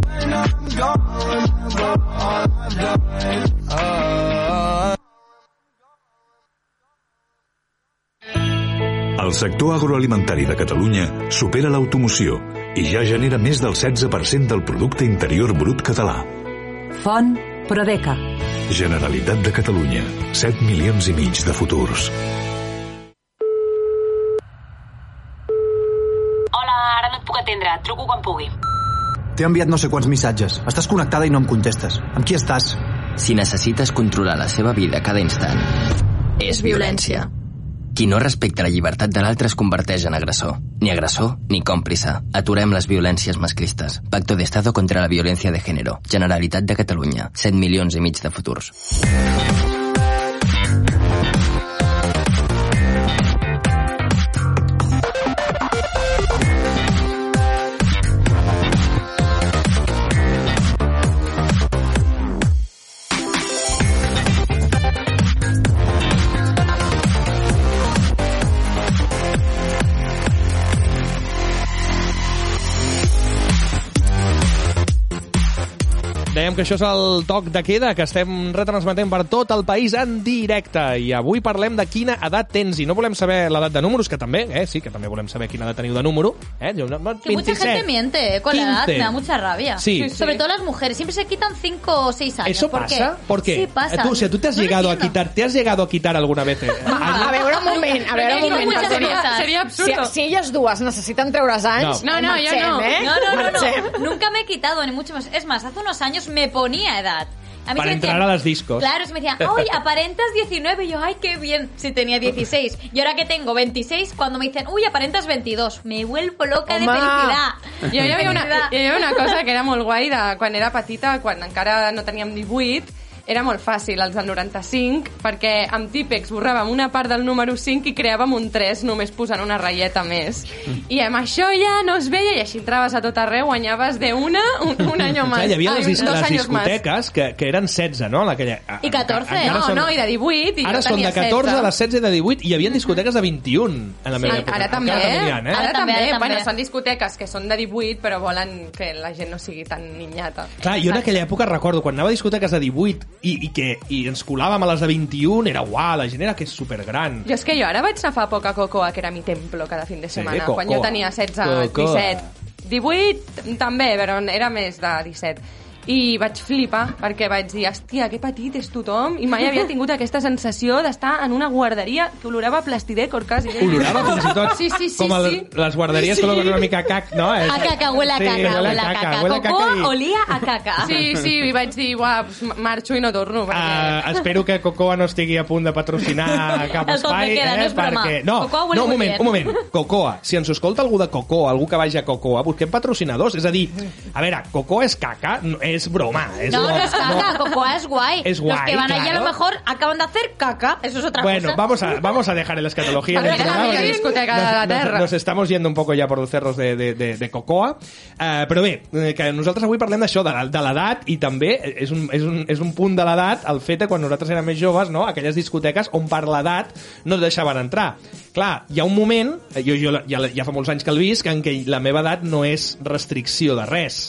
Speaker 7: When I'm gone, but all I've done, uh,
Speaker 9: El sector agroalimentari de Catalunya supera l'automoció i ja genera més del 16% del producte interior brut català.
Speaker 8: Font Prodeca.
Speaker 9: Generalitat de Catalunya, 7 milions i mig de futurs.
Speaker 10: Hola, ara no et puc atendre. Et truco quan pugui.
Speaker 11: T'he enviat no sé quants missatges. Estàs connectada i no em contestes. Amb qui estàs?
Speaker 10: Si necessites controlar la seva vida cada instant, és violència.
Speaker 12: Qui no respecta la llibertat de l'altre es converteix en agressor. Ni agressor, ni còmplice. Aturem les violències masclistes. Pacto d'Estado contra la violència de género. Generalitat de Catalunya. 7 milions i mig de futurs.
Speaker 1: Dèiem que això és el toc de queda, que estem retransmetent per tot el país en directe. I avui parlem de quina edat tens. I no volem saber l'edat de números, que també, eh? Sí, que també volem saber quina edat teniu de número. Eh? Jo, no,
Speaker 2: Que mucha gente miente eh, con la edad,
Speaker 1: 15.
Speaker 2: me da mucha rabia.
Speaker 1: Sí. Sí, sí.
Speaker 2: Sobre todo las mujeres, siempre se quitan 5 o 6 años.
Speaker 1: ¿Eso
Speaker 2: ¿Por
Speaker 1: pasa?
Speaker 2: Qué?
Speaker 1: ¿Por qué? Eh,
Speaker 2: Sí, pasa.
Speaker 1: Tú, si tú te has
Speaker 2: No lo
Speaker 1: llegado a
Speaker 2: entiendo.
Speaker 1: quitar, te has llegado a quitar alguna vez. eh?
Speaker 5: A veure, un moment, a veure, un
Speaker 2: Perquè diu
Speaker 5: moment.
Speaker 2: moltes
Speaker 5: Seria-
Speaker 2: coses.
Speaker 5: seria
Speaker 2: absurdo.
Speaker 5: Si, si elles dues necessiten treure's anys,
Speaker 2: No, no,
Speaker 5: marxem,
Speaker 2: yo no.
Speaker 5: Eh?
Speaker 2: No, no, no, no.
Speaker 5: Marxem.
Speaker 2: Nunca me he quitado, ni mucho más. Es más, hace unos años me ponía edad. A mí
Speaker 1: Para
Speaker 2: se me
Speaker 1: entrar a las discos.
Speaker 2: Claro, se me decían, ¡ay, aparentas 19! Y yo, ¡ay, qué bien! Si tenía 16. Y ahora que tengo 26, cuando me dicen, ¡uy, aparentas 22! Me vuelvo loca de
Speaker 3: Home.
Speaker 2: felicidad.
Speaker 3: Jo hi havia, una,
Speaker 2: Felicidad.
Speaker 3: hi havia una cosa que era molt guai de quan era petita, quan encara no teníem 18, era molt fàcil, els del 95, perquè amb típex borràvem una part del número 5 i creàvem un 3 només posant una ratlleta més. I amb això ja no es veia i així entraves a tot arreu, guanyaves de una, un, un any
Speaker 1: Clar,
Speaker 3: més.
Speaker 1: hi havia les,
Speaker 3: Ai,
Speaker 1: dis
Speaker 3: dos
Speaker 1: les
Speaker 3: anys
Speaker 1: discoteques que, que eren 16, no? En Aquella, a-
Speaker 3: Més. I 14,
Speaker 1: encara
Speaker 3: Eh, no,
Speaker 1: són-
Speaker 3: no, i de 18, i
Speaker 1: Ara
Speaker 3: jo
Speaker 1: són de
Speaker 3: tenia
Speaker 1: 14,
Speaker 3: 16.
Speaker 1: de les 16 i de 18, i hi havia discoteques de 21 en la
Speaker 3: Sí,
Speaker 1: meva
Speaker 3: ara,
Speaker 1: època.
Speaker 3: ara, també,
Speaker 1: Encara també n'hi ha, eh?
Speaker 3: ara també,
Speaker 2: també, ara
Speaker 3: Bueno,
Speaker 2: també.
Speaker 3: són discoteques que són de 18, però volen que la gent no sigui tan niñata.
Speaker 1: Clar, jo en aquella època recordo, quan anava a discoteques de 18 i, i, que, i ens colàvem a les de 21, era uau, la gent era que és supergran.
Speaker 3: Jo és que jo ara vaig anar fa poc a Cocoa, que era mi templo cada fin de setmana,
Speaker 1: Cocoa.
Speaker 3: quan jo tenia 16,
Speaker 1: Cocoa.
Speaker 3: 17, 18 també, però era més de 17. I vaig flipar perquè vaig dir, hòstia, que petit és tothom, i mai havia tingut aquesta sensació d'estar en una guarderia que olorava a plastidecor, quasi.
Speaker 1: Olorava fins i tot
Speaker 3: Sí, sí, sí.
Speaker 1: com el,
Speaker 3: sí. Ah,
Speaker 1: les guarderies que olorava una mica a cac, no? És-
Speaker 2: A caca, huele a
Speaker 1: Sí,
Speaker 2: caca,
Speaker 1: huele a
Speaker 2: huele a
Speaker 1: caca,
Speaker 2: caca.
Speaker 1: huele a caca
Speaker 2: Cocoa
Speaker 1: i-
Speaker 2: olía a caca.
Speaker 3: Sí, sí, i vaig dir, uah, pues, marxo i no torno. Perquè...
Speaker 1: Ah, espero que Cocoa no estigui a punt de patrocinar cap
Speaker 3: El toc de
Speaker 1: espai,
Speaker 3: queda,
Speaker 1: eh?
Speaker 3: no és broma.
Speaker 1: perquè... No,
Speaker 3: Cocoa huele
Speaker 1: no, un
Speaker 3: muy
Speaker 1: moment,
Speaker 3: bien.
Speaker 1: un moment. Cocoa, si ens escolta algú de Cocoa, algú que vagi a Cocoa, busquem patrocinadors. És a dir, a veure, Cocoa és caca, no, és broma. És
Speaker 2: No, no
Speaker 1: broma,
Speaker 2: es caca, Cocoa es guay.
Speaker 1: Es
Speaker 2: Los
Speaker 1: guay,
Speaker 2: que van allí a
Speaker 1: claro.
Speaker 2: lo mejor acaban de hacer caca. Eso es otra
Speaker 1: Bueno,
Speaker 2: cosa.
Speaker 1: vamos a, vamos a dejar el escatología.
Speaker 2: Habrá
Speaker 1: del
Speaker 2: que la
Speaker 1: programa,
Speaker 2: media
Speaker 1: porque
Speaker 2: discoteca de
Speaker 1: nos-
Speaker 2: la
Speaker 1: nos-
Speaker 2: Terra.
Speaker 1: Nos estamos yendo un poco ya por los cerros de, de, de, de Cocoa. Eh, però bé, eh, que nosaltres avui parlem d'això, de, la- de l'edat, i també és un, és, un, és un punt de l'edat el fet de quan nosaltres érem més joves, no? aquelles discoteques on per l'edat no et deixaven entrar. Clar, hi ha un moment, eh, jo, jo la- ja, la- ja fa molts anys que el visc, en què la meva edat no és restricció de res.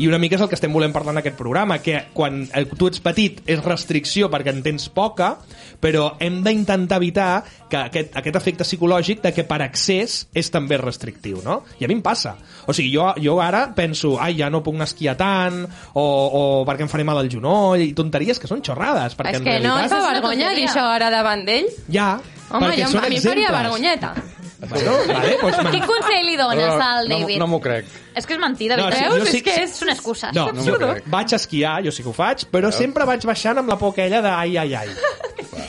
Speaker 1: I una mica és el que estem volent parlar en aquest programa, que quan eh, tu ets petit és restricció perquè en tens poca, però hem d'intentar evitar que aquest, aquest efecte psicològic de que per accés és també restrictiu, no? I a mi em passa. O sigui, jo, jo ara penso, ai, ja no puc anar a esquiar tant, o, o perquè em faré mal al genoll, i tonteries que són xorrades, perquè
Speaker 3: És
Speaker 1: en
Speaker 3: que no
Speaker 1: realitat...
Speaker 3: et fa vergonya dir això ara davant d'ell?
Speaker 1: Ja,
Speaker 3: Home,
Speaker 1: perquè
Speaker 3: jo,
Speaker 1: són
Speaker 3: a mi em faria
Speaker 1: exemples.
Speaker 3: vergonyeta.
Speaker 1: Bueno, vale, doncs pues, man-
Speaker 2: ¿Qué consejo le dones al David?
Speaker 1: m'ho crec.
Speaker 2: Es que es mentira,
Speaker 1: No, sí,
Speaker 2: ¿verdad?
Speaker 1: yo
Speaker 2: es
Speaker 1: sí-
Speaker 2: que es una excusa.
Speaker 1: No,
Speaker 2: es
Speaker 1: no
Speaker 2: absurdo.
Speaker 1: vaig a esquiar, jo sí que ho faig, però sempre vaig baixant amb la por aquella de ai, ai, ai.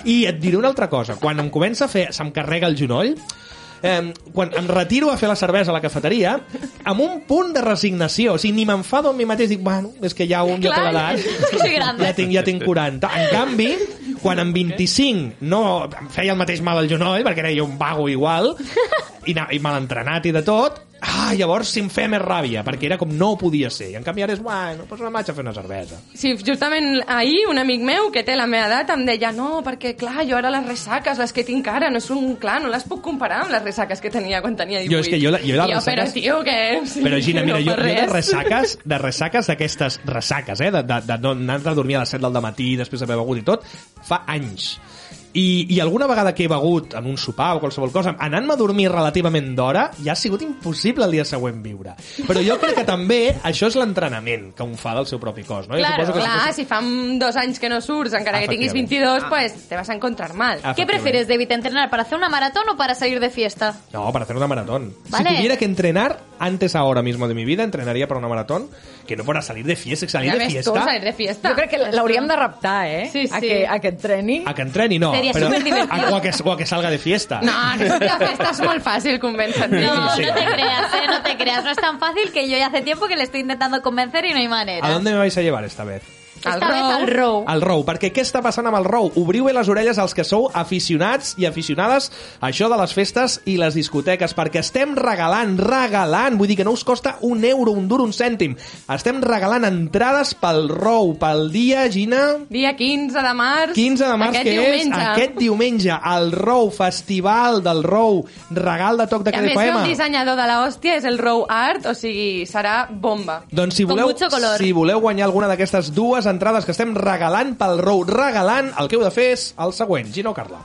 Speaker 1: I et diré una altra cosa, quan em comença a fer, se'm carrega el genoll, eh, quan em retiro a fer la cervesa a la cafeteria, amb un punt de resignació, o sigui, ni m'enfado amb mi mateix, dic, bueno, és que ja un, ja té
Speaker 7: Clar,
Speaker 1: l'edat,
Speaker 7: és que soy grande.
Speaker 1: ja tinc, ja tinc 40. En canvi, quan amb 25 no em feia el mateix mal al genoll, perquè era jo un vago igual, i, na- i mal entrenat i de tot, ah, llavors si em feia més ràbia, perquè era com no podia ser. I en canvi ara és, bueno, doncs una matxa a fer una cervesa.
Speaker 3: Sí, justament ahir un amic meu que té la meva edat em deia no, perquè clar, jo ara les ressaques, les que tinc ara, no són, clar, no les puc comparar amb les ressaques que tenia quan tenia 18.
Speaker 1: Jo és que jo la- jo les
Speaker 3: I
Speaker 1: ressaques-
Speaker 3: Però tio, que... sí,
Speaker 1: Però Gina, mira,
Speaker 3: no
Speaker 1: jo,
Speaker 3: fa
Speaker 1: jo de
Speaker 3: res.
Speaker 1: ressaques, de ressaques d'aquestes ressaques, eh, de, de, de no anar a dormir a les 7 del matí després d'haver begut i tot, fa anys. I, I alguna vegada que he begut en un sopar o qualsevol cosa, anant-me a dormir relativament d'hora, ja ha sigut impossible el dia següent viure. Però jo crec que també això és l'entrenament que un fa del seu propi cos, no? Jo
Speaker 3: Claro,
Speaker 1: suposo que
Speaker 3: clar,
Speaker 1: suposo-
Speaker 3: si fa mm, dos anys que no surts, encara que tinguis
Speaker 1: Efectivament. Ah.
Speaker 3: 22, pues te vas a encontrar mal.
Speaker 1: Efectivament.
Speaker 2: ¿Qué prefieres, David, entrenar para hacer una maratón o para salir de fiesta?
Speaker 1: No, para hacer una maratón.
Speaker 2: Vale.
Speaker 1: Si tuviera que entrenar, antes ahora mismo de mi vida entrenaría para una maratón que no para salir de fiesta, salir
Speaker 5: Ja
Speaker 1: de
Speaker 5: ves
Speaker 1: fiesta.
Speaker 5: tu,
Speaker 3: salir de fiesta.
Speaker 5: Jo crec que l'hauríem de reptar, eh?
Speaker 3: Sí, sí.
Speaker 5: A que, a que entreni.
Speaker 1: A que entreni, no.
Speaker 5: Seria
Speaker 1: però-
Speaker 5: superdivertido.
Speaker 1: a- o, a que, o a que salga de fiesta.
Speaker 3: No, no, la festa és molt fàcil, convèncer-te.
Speaker 1: No, no Sí.
Speaker 2: No te creas, eh, no te creas. No es tan fácil que yo ya hace tiempo que le estoy intentando convencer y no hay manera.
Speaker 1: ¿A dónde me vais a llevar esta vez?
Speaker 2: Esta vez al row.
Speaker 1: Al Row, perquè què està passant amb el Row? Obriu bé les orelles als que sou aficionats i aficionades a això de les festes i les discoteques, perquè estem regalant, regalant, vull dir que no us costa un euro, un duro, un cèntim. Estem regalant entrades pel Row, pel dia, Gina...
Speaker 3: Dia 15 de març.
Speaker 1: 15 de març,
Speaker 3: aquest
Speaker 1: que
Speaker 3: diumenge.
Speaker 1: és aquest diumenge, al Row, Festival del Row, regal de toc de
Speaker 3: I a més,
Speaker 1: Queda
Speaker 3: que
Speaker 1: FM.
Speaker 3: un dissenyador de l'hòstia és el Row Art, o sigui, serà bomba.
Speaker 1: Doncs si voleu, si voleu guanyar alguna d'aquestes dues entrades que estem regalant pel Row, regalant, el que heu de fer és el següent, Gina o Carla.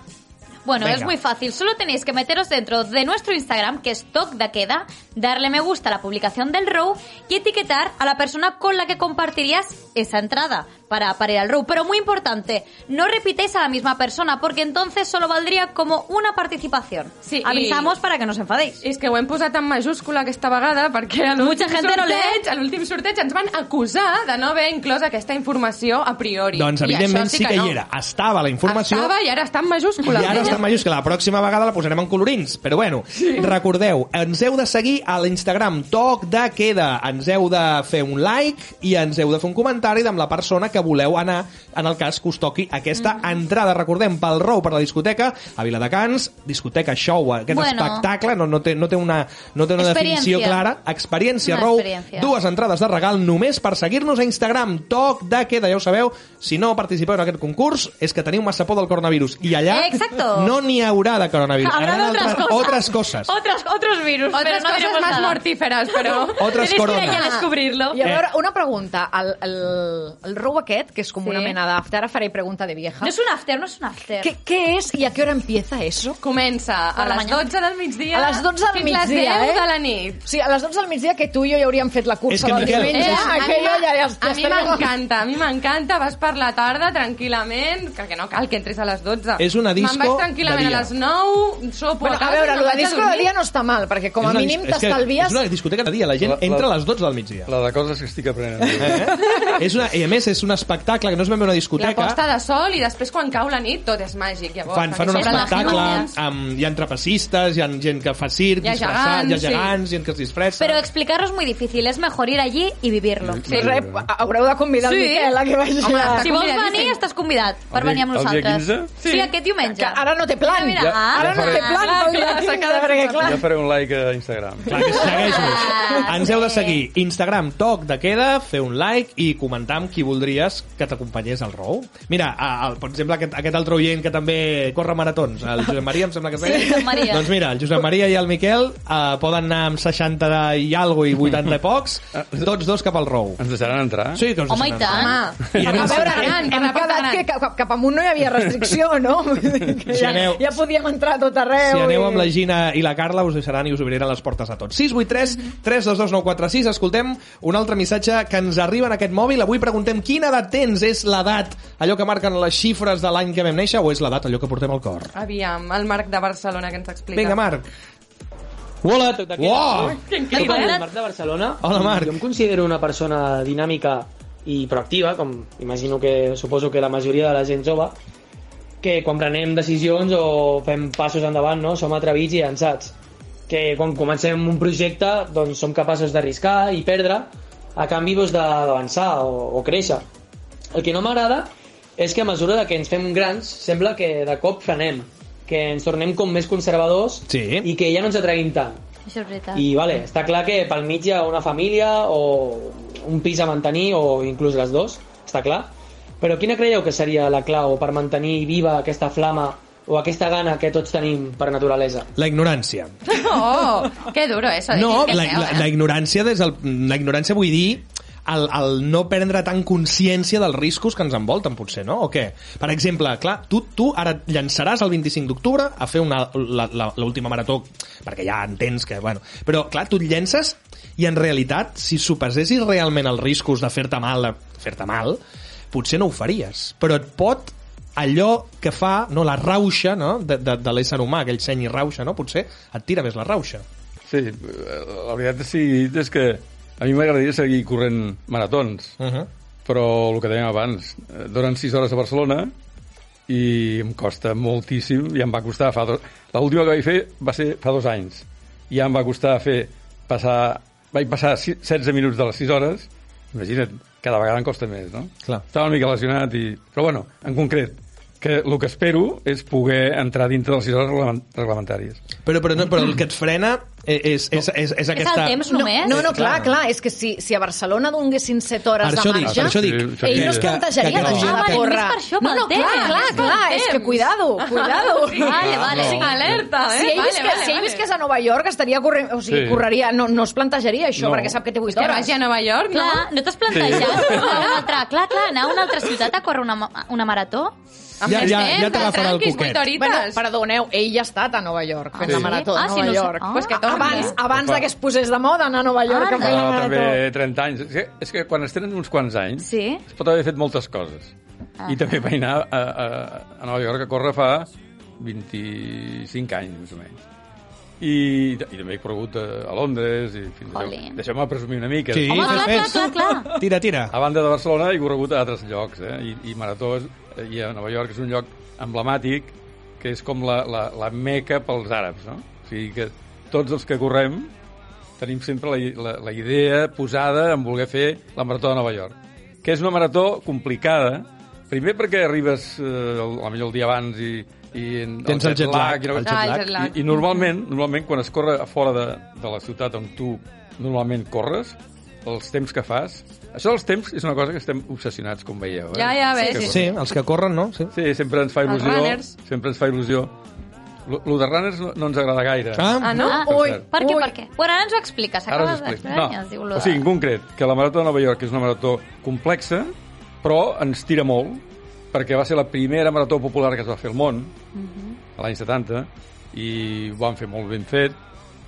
Speaker 2: Bueno,
Speaker 1: Venga.
Speaker 2: es muy fácil. Solo tenéis que meteros dentro de nuestro Instagram, que es Toc da Queda, darle me gusta a la publicación del row y etiquetar a la persona con la que compartirías esa entrada para, para ir al row. Pero muy importante, no repitáis a la misma persona, porque entonces solo valdría como una participación.
Speaker 3: Sí,
Speaker 2: Avisamos para que no os enfadéis.
Speaker 3: És que ho hem posat en majúscula aquesta vegada perquè a l'últim
Speaker 2: Mucha gente no
Speaker 3: sorteig, a l'últim sorteig ens van acusar de no haver inclòs aquesta informació a priori.
Speaker 1: Doncs
Speaker 3: I
Speaker 1: evidentment
Speaker 3: això
Speaker 1: sí que,
Speaker 3: no.
Speaker 1: hi era. Estava la informació...
Speaker 3: Estava i ara està en majúscula.
Speaker 1: I ara està en majúscula. La pròxima vegada la posarem en colorins. Però bueno, recordeu, ens heu de seguir a l'Instagram Toc de Queda. Ens heu de fer un like i ens heu de fer un comentari amb la persona que voleu anar en el cas que us toqui
Speaker 2: Mm.
Speaker 1: aquesta entrada. Recordem, pel Rou, per la discoteca, a Viladecans, discoteca show, aquest
Speaker 2: Bueno.
Speaker 1: espectacle, no, no, té, no té una, no té una definició
Speaker 2: Experiència.
Speaker 1: clara. Experiència,
Speaker 2: Una
Speaker 1: Rou.
Speaker 2: experiència.
Speaker 1: Dues entrades de regal només per seguir-nos a Instagram. Toc de queda, ja ho sabeu. Si no participeu en aquest concurs, és que teniu massa por del coronavirus. I allà
Speaker 2: Exacto.
Speaker 1: no n'hi haurà de coronavirus.
Speaker 2: Habrá
Speaker 1: Haurà
Speaker 2: de otras
Speaker 1: d'altres-
Speaker 2: cosas.
Speaker 1: Otras cosas.
Speaker 2: Otros, otros virus,
Speaker 3: Otras
Speaker 2: pero no
Speaker 3: cosas
Speaker 2: diremos
Speaker 3: más
Speaker 2: nada.
Speaker 3: mortíferas, pero-
Speaker 1: Otras
Speaker 2: Tenéis que ir
Speaker 1: coronas.
Speaker 2: allá a descubrirlo.
Speaker 5: I a veure, una pregunta. El, el, el row aquest, que és com
Speaker 2: Sí.
Speaker 5: una mena d'after, ara faré pregunta de vieja.
Speaker 2: No es un after, no es un after.
Speaker 5: Què, què és i a què hora empieza eso?
Speaker 3: Comença a
Speaker 5: la
Speaker 3: les
Speaker 5: mañana.
Speaker 3: 12 del migdia
Speaker 5: A les 12 del
Speaker 3: fins
Speaker 5: migdia,
Speaker 3: les 10
Speaker 5: eh?
Speaker 3: de la nit.
Speaker 5: Sí, a les 12 del migdia que tu i jo ja hauríem fet la cursa
Speaker 1: És que,
Speaker 5: del
Speaker 1: Miquel,
Speaker 5: diumenge.
Speaker 1: és-
Speaker 5: Eh, aquella ja, ja, ja
Speaker 3: a mi
Speaker 5: estarà-
Speaker 3: m'encanta, a mi m'encanta. Vas per la tarda tranquil·lament, que, que no cal que entris a les 12.
Speaker 1: És una disco
Speaker 3: Me'n vaig
Speaker 1: de
Speaker 3: tranquil·lament
Speaker 1: dia.
Speaker 3: a les 9, sopo
Speaker 5: Bueno, a
Speaker 3: casa,
Speaker 5: veure,
Speaker 3: me'n
Speaker 5: lo de
Speaker 3: vaig
Speaker 5: disco de
Speaker 3: dormir.
Speaker 5: dia no està mal, perquè com a
Speaker 1: És una dis-
Speaker 5: mínim
Speaker 1: és que
Speaker 5: t'estalvies...
Speaker 1: És una discoteca de dia, la gent
Speaker 4: La- la-
Speaker 1: entra a les 12 del migdia.
Speaker 4: La de coses que estic aprenent. Eh?
Speaker 1: És una, I a més, és un espectacle que no és ben bé una
Speaker 3: La
Speaker 1: discoteca.
Speaker 3: posta de sol i després quan cau la nit tot és màgic. Llavors,
Speaker 1: fan, fan un
Speaker 3: perquè s'obren les
Speaker 1: espectacle,
Speaker 3: llums.
Speaker 1: amb, hi ha trapecistes, hi ha gent que fa circ,
Speaker 3: Hi ha
Speaker 1: disfressat, hi ha
Speaker 3: gegants,
Speaker 1: gegants, gent que es disfressa.
Speaker 2: Pero explicarlo es muy difícil, es mejor ir allí y vivirlo.
Speaker 4: Mm. Doncs,
Speaker 5: Sí,
Speaker 4: eh,
Speaker 5: rep, haureu de convidar sí. el Miquel a que vagi
Speaker 3: Home,
Speaker 5: a...
Speaker 2: Si vols venir, estàs convidat per
Speaker 4: El dia-
Speaker 2: venir amb
Speaker 4: el dia
Speaker 2: nosaltres.
Speaker 4: 15?
Speaker 2: Sí. sí, aquest diumenge.
Speaker 5: Que ara no té plan.
Speaker 2: Mira,
Speaker 4: Ja-
Speaker 2: ah,
Speaker 5: Ara
Speaker 4: ja
Speaker 5: no
Speaker 4: faré-
Speaker 5: té plan,
Speaker 3: clar,
Speaker 5: pel dia
Speaker 3: clar, s'ha
Speaker 5: 15,
Speaker 3: quedat
Speaker 5: perquè
Speaker 3: sense
Speaker 5: clar...
Speaker 4: Ja faré un like a Instagram.
Speaker 1: Clar, que segueix-nos.
Speaker 2: Ah,
Speaker 1: Ens heu de
Speaker 2: sí.
Speaker 1: seguir. Instagram, toc de queda, fer un like i comentar amb qui voldries que t'acompanyés al rou. Mira, a- al- per exemple, aquest, aquest altre oient que també corre maratons, el Josep Maria, em sembla que es deia.
Speaker 2: Ah. Sí, Josep Maria.
Speaker 1: Doncs mira, el Josep Maria i el Miquel eh, poden anar amb 60 i algo i 80 i pocs, tots dos cap al rou.
Speaker 4: Ens deixaran entrar?
Speaker 1: Sí, que us
Speaker 2: Home, i
Speaker 1: deixen
Speaker 2: tant.
Speaker 1: entrar.
Speaker 3: Home.
Speaker 1: I a
Speaker 5: A
Speaker 1: més,
Speaker 5: veure,
Speaker 3: gran,
Speaker 5: hem,
Speaker 3: per
Speaker 5: hem
Speaker 3: la porta
Speaker 5: quedat
Speaker 3: gran.
Speaker 5: que cap, cap amunt no hi havia restricció, no? Vull dir que
Speaker 1: Si
Speaker 5: ja,
Speaker 1: aneu-
Speaker 5: ja podíem entrar a tot arreu.
Speaker 1: Si aneu amb la
Speaker 5: i-
Speaker 1: Gina i la Carla us deixaran i us obriran les portes a tots. 683 322 946 Escoltem un altre missatge que ens arriba en aquest mòbil. Avui preguntem quina edat tens? És l'edat allò que marquen les xifres de l'any que vam néixer o és l'edat allò que portem al cor?
Speaker 3: Aviam, el Marc de Barcelona que ens explica.
Speaker 1: Vinga, Marc.
Speaker 13: Hola, tot d'aquí.
Speaker 1: Uau!
Speaker 3: Que
Speaker 13: Soc
Speaker 3: increïble,
Speaker 13: el
Speaker 3: eh?
Speaker 13: Marc de Barcelona.
Speaker 1: Hola, Marc.
Speaker 13: Jo em considero una persona dinàmica i proactiva, com imagino que suposo que la majoria de la gent jove, que quan prenem decisions o fem passos endavant, no? som atrevits i llançats. Que quan comencem un projecte doncs som capaços d'arriscar i perdre a canvi doncs, d'avançar o, o créixer. El que no m'agrada és que a mesura de que ens fem grans sembla que de cop frenem, que ens tornem com més conservadors
Speaker 1: Sí.
Speaker 13: i que ja no ens atrevim tant.
Speaker 2: Això és veritat.
Speaker 13: I vale, està clar que pel mig hi ha una família o un pis a mantenir o inclús les dos, està clar. Però quina creieu que seria la clau per mantenir viva aquesta flama o aquesta gana que tots tenim per naturalesa?
Speaker 1: La ignorància.
Speaker 3: Oh, que duro eso. de
Speaker 1: No,
Speaker 3: dir que
Speaker 1: la,
Speaker 3: feo,
Speaker 1: la,
Speaker 3: eh?
Speaker 1: la ignorància des del, la ignorància vull dir el, el no prendre tan consciència dels riscos que ens envolten, potser, no? O què? Per exemple, clar, tu, tu ara et llançaràs el 25 d'octubre a fer una- la- la- l'última marató, perquè ja entens que, bueno... Però, clar, tu et llences i, en realitat, si sopesessis realment els riscos de fer-te mal, de fer-te mal, potser no ho faries. Però et pot allò que fa, no, la rauxa, no?, de, de, de l'ésser humà, aquell seny i rauxa, no?, potser et tira més la rauxa.
Speaker 4: Sí, eh, la veritat és, sí, és que a mi m'agradaria seguir corrent
Speaker 1: Ah.
Speaker 4: maratons, uh
Speaker 1: Uh-huh.
Speaker 4: -huh. però el que dèiem abans, eh, donen 6 hores a Barcelona i em costa moltíssim, i em va costar fa dos... L'última que vaig fer va ser fa dos anys, i ja em va costar fer passar... Vaig passar si- 16 minuts de les 6 hores, imagina't, cada vegada em costa més, no?
Speaker 1: Clar.
Speaker 4: Estava una mica lesionat i... Però bueno, en concret, que el que espero és poder entrar dintre de les 6 hores reglament- reglamentàries.
Speaker 1: Però, però, no, però el que et frena eh, és, és, és, és aquesta...
Speaker 5: No, no, no
Speaker 1: Eh,
Speaker 5: clar, clar, és que si, si a Barcelona donguessin 7 hores
Speaker 1: Per això
Speaker 5: de
Speaker 1: dic,
Speaker 5: marxa,
Speaker 1: per això dic.
Speaker 5: ell no es
Speaker 1: Que-
Speaker 5: plantejaria
Speaker 1: que- que-
Speaker 5: deixar
Speaker 1: Ah,
Speaker 5: de
Speaker 1: vale,
Speaker 5: córrer.
Speaker 1: només per això,
Speaker 5: no, no,
Speaker 2: pel
Speaker 5: clar,
Speaker 2: temps,
Speaker 5: clar,
Speaker 2: pel
Speaker 5: clar, Ah, és que
Speaker 2: temps.
Speaker 5: cuidado, cuidado.
Speaker 2: Sí, Vale, vale, no. sí. Alerta, eh?
Speaker 5: Si ell
Speaker 2: Vale,
Speaker 5: visqués,
Speaker 2: vale,
Speaker 5: si ell
Speaker 2: vale.
Speaker 5: visqués a Nova York, estaria corrent, o sigui,
Speaker 2: Sí.
Speaker 5: correria, no, no es plantejaria això,
Speaker 2: No.
Speaker 5: perquè sap que té 8
Speaker 2: És que
Speaker 5: hores.
Speaker 2: vagi a
Speaker 5: Nova York,
Speaker 2: Clar, no t'has plantejat sí. anar a una altra... Clar, clar, anar a una altra ciutat a córrer una, ma- una marató?
Speaker 1: Ja- ja- ja t'agafarà el cuquet.
Speaker 5: Bueno, perdoneu, ell ja ha estat a Nova York fent
Speaker 4: Sí.
Speaker 5: la marató de
Speaker 2: Ah, sí,
Speaker 5: Nova
Speaker 2: no sé.
Speaker 5: York.
Speaker 2: Ah.
Speaker 5: pues que abans abans de que es posés de moda anar a Nova York a fer la
Speaker 4: No,
Speaker 5: marató.
Speaker 4: Ah, també 30 anys. És que, és que quan es tenen uns quants anys
Speaker 5: Sí.
Speaker 4: es pot haver fet moltes coses.
Speaker 5: Ah.
Speaker 4: I també vaig anar a, a, a Nova York a córrer fa 25 anys, més o menys. I, i també he corregut a, a Londres i fins i tot... Deixeu-me presumir una mica.
Speaker 1: Sí, Home, fes, clar, fes. clar, clar, clar. Tira, tira.
Speaker 4: A banda de Barcelona he corregut a altres llocs, eh? I, i Marató és, i a Nova York és un lloc emblemàtic que és com la, la, la meca pels àrabs, no? O sigui que tots els que correm tenim sempre la, la, la idea posada en voler fer la Marató de Nova York, que és una marató complicada, primer perquè arribes eh, el, potser el dia abans i, i en,
Speaker 1: Tens el jet lag,
Speaker 4: i,
Speaker 1: el jet Ah, el jet lag.
Speaker 4: I, i normalment, normalment quan es corre a fora de, de la ciutat on tu normalment corres, els temps que fas... Això dels temps és una cosa que estem obsessionats, com veieu. Eh?
Speaker 3: Ja, ja, bé,
Speaker 4: Que
Speaker 3: sí.
Speaker 1: Sí, els que corren, no? Sí,
Speaker 4: sí sempre ens fa
Speaker 3: Els
Speaker 4: il·lusió.
Speaker 3: runners.
Speaker 4: Sempre ens fa il·lusió. Lo, lo de runners no, no ens agrada gaire.
Speaker 2: Ah, no?
Speaker 4: Per
Speaker 2: Ui,
Speaker 4: cert.
Speaker 2: per què, per què? Bueno, ara ens ho expliques.
Speaker 4: Ara
Speaker 2: Acabes
Speaker 4: us explico.
Speaker 2: d'explicar i ens diu
Speaker 4: No.
Speaker 2: lo
Speaker 4: O sigui, en concret, que la Marató de Nova York és una marató complexa, però ens tira molt, perquè va ser la primera marató popular que es va fer al món, a l'any 70, i ho van fer molt ben fet,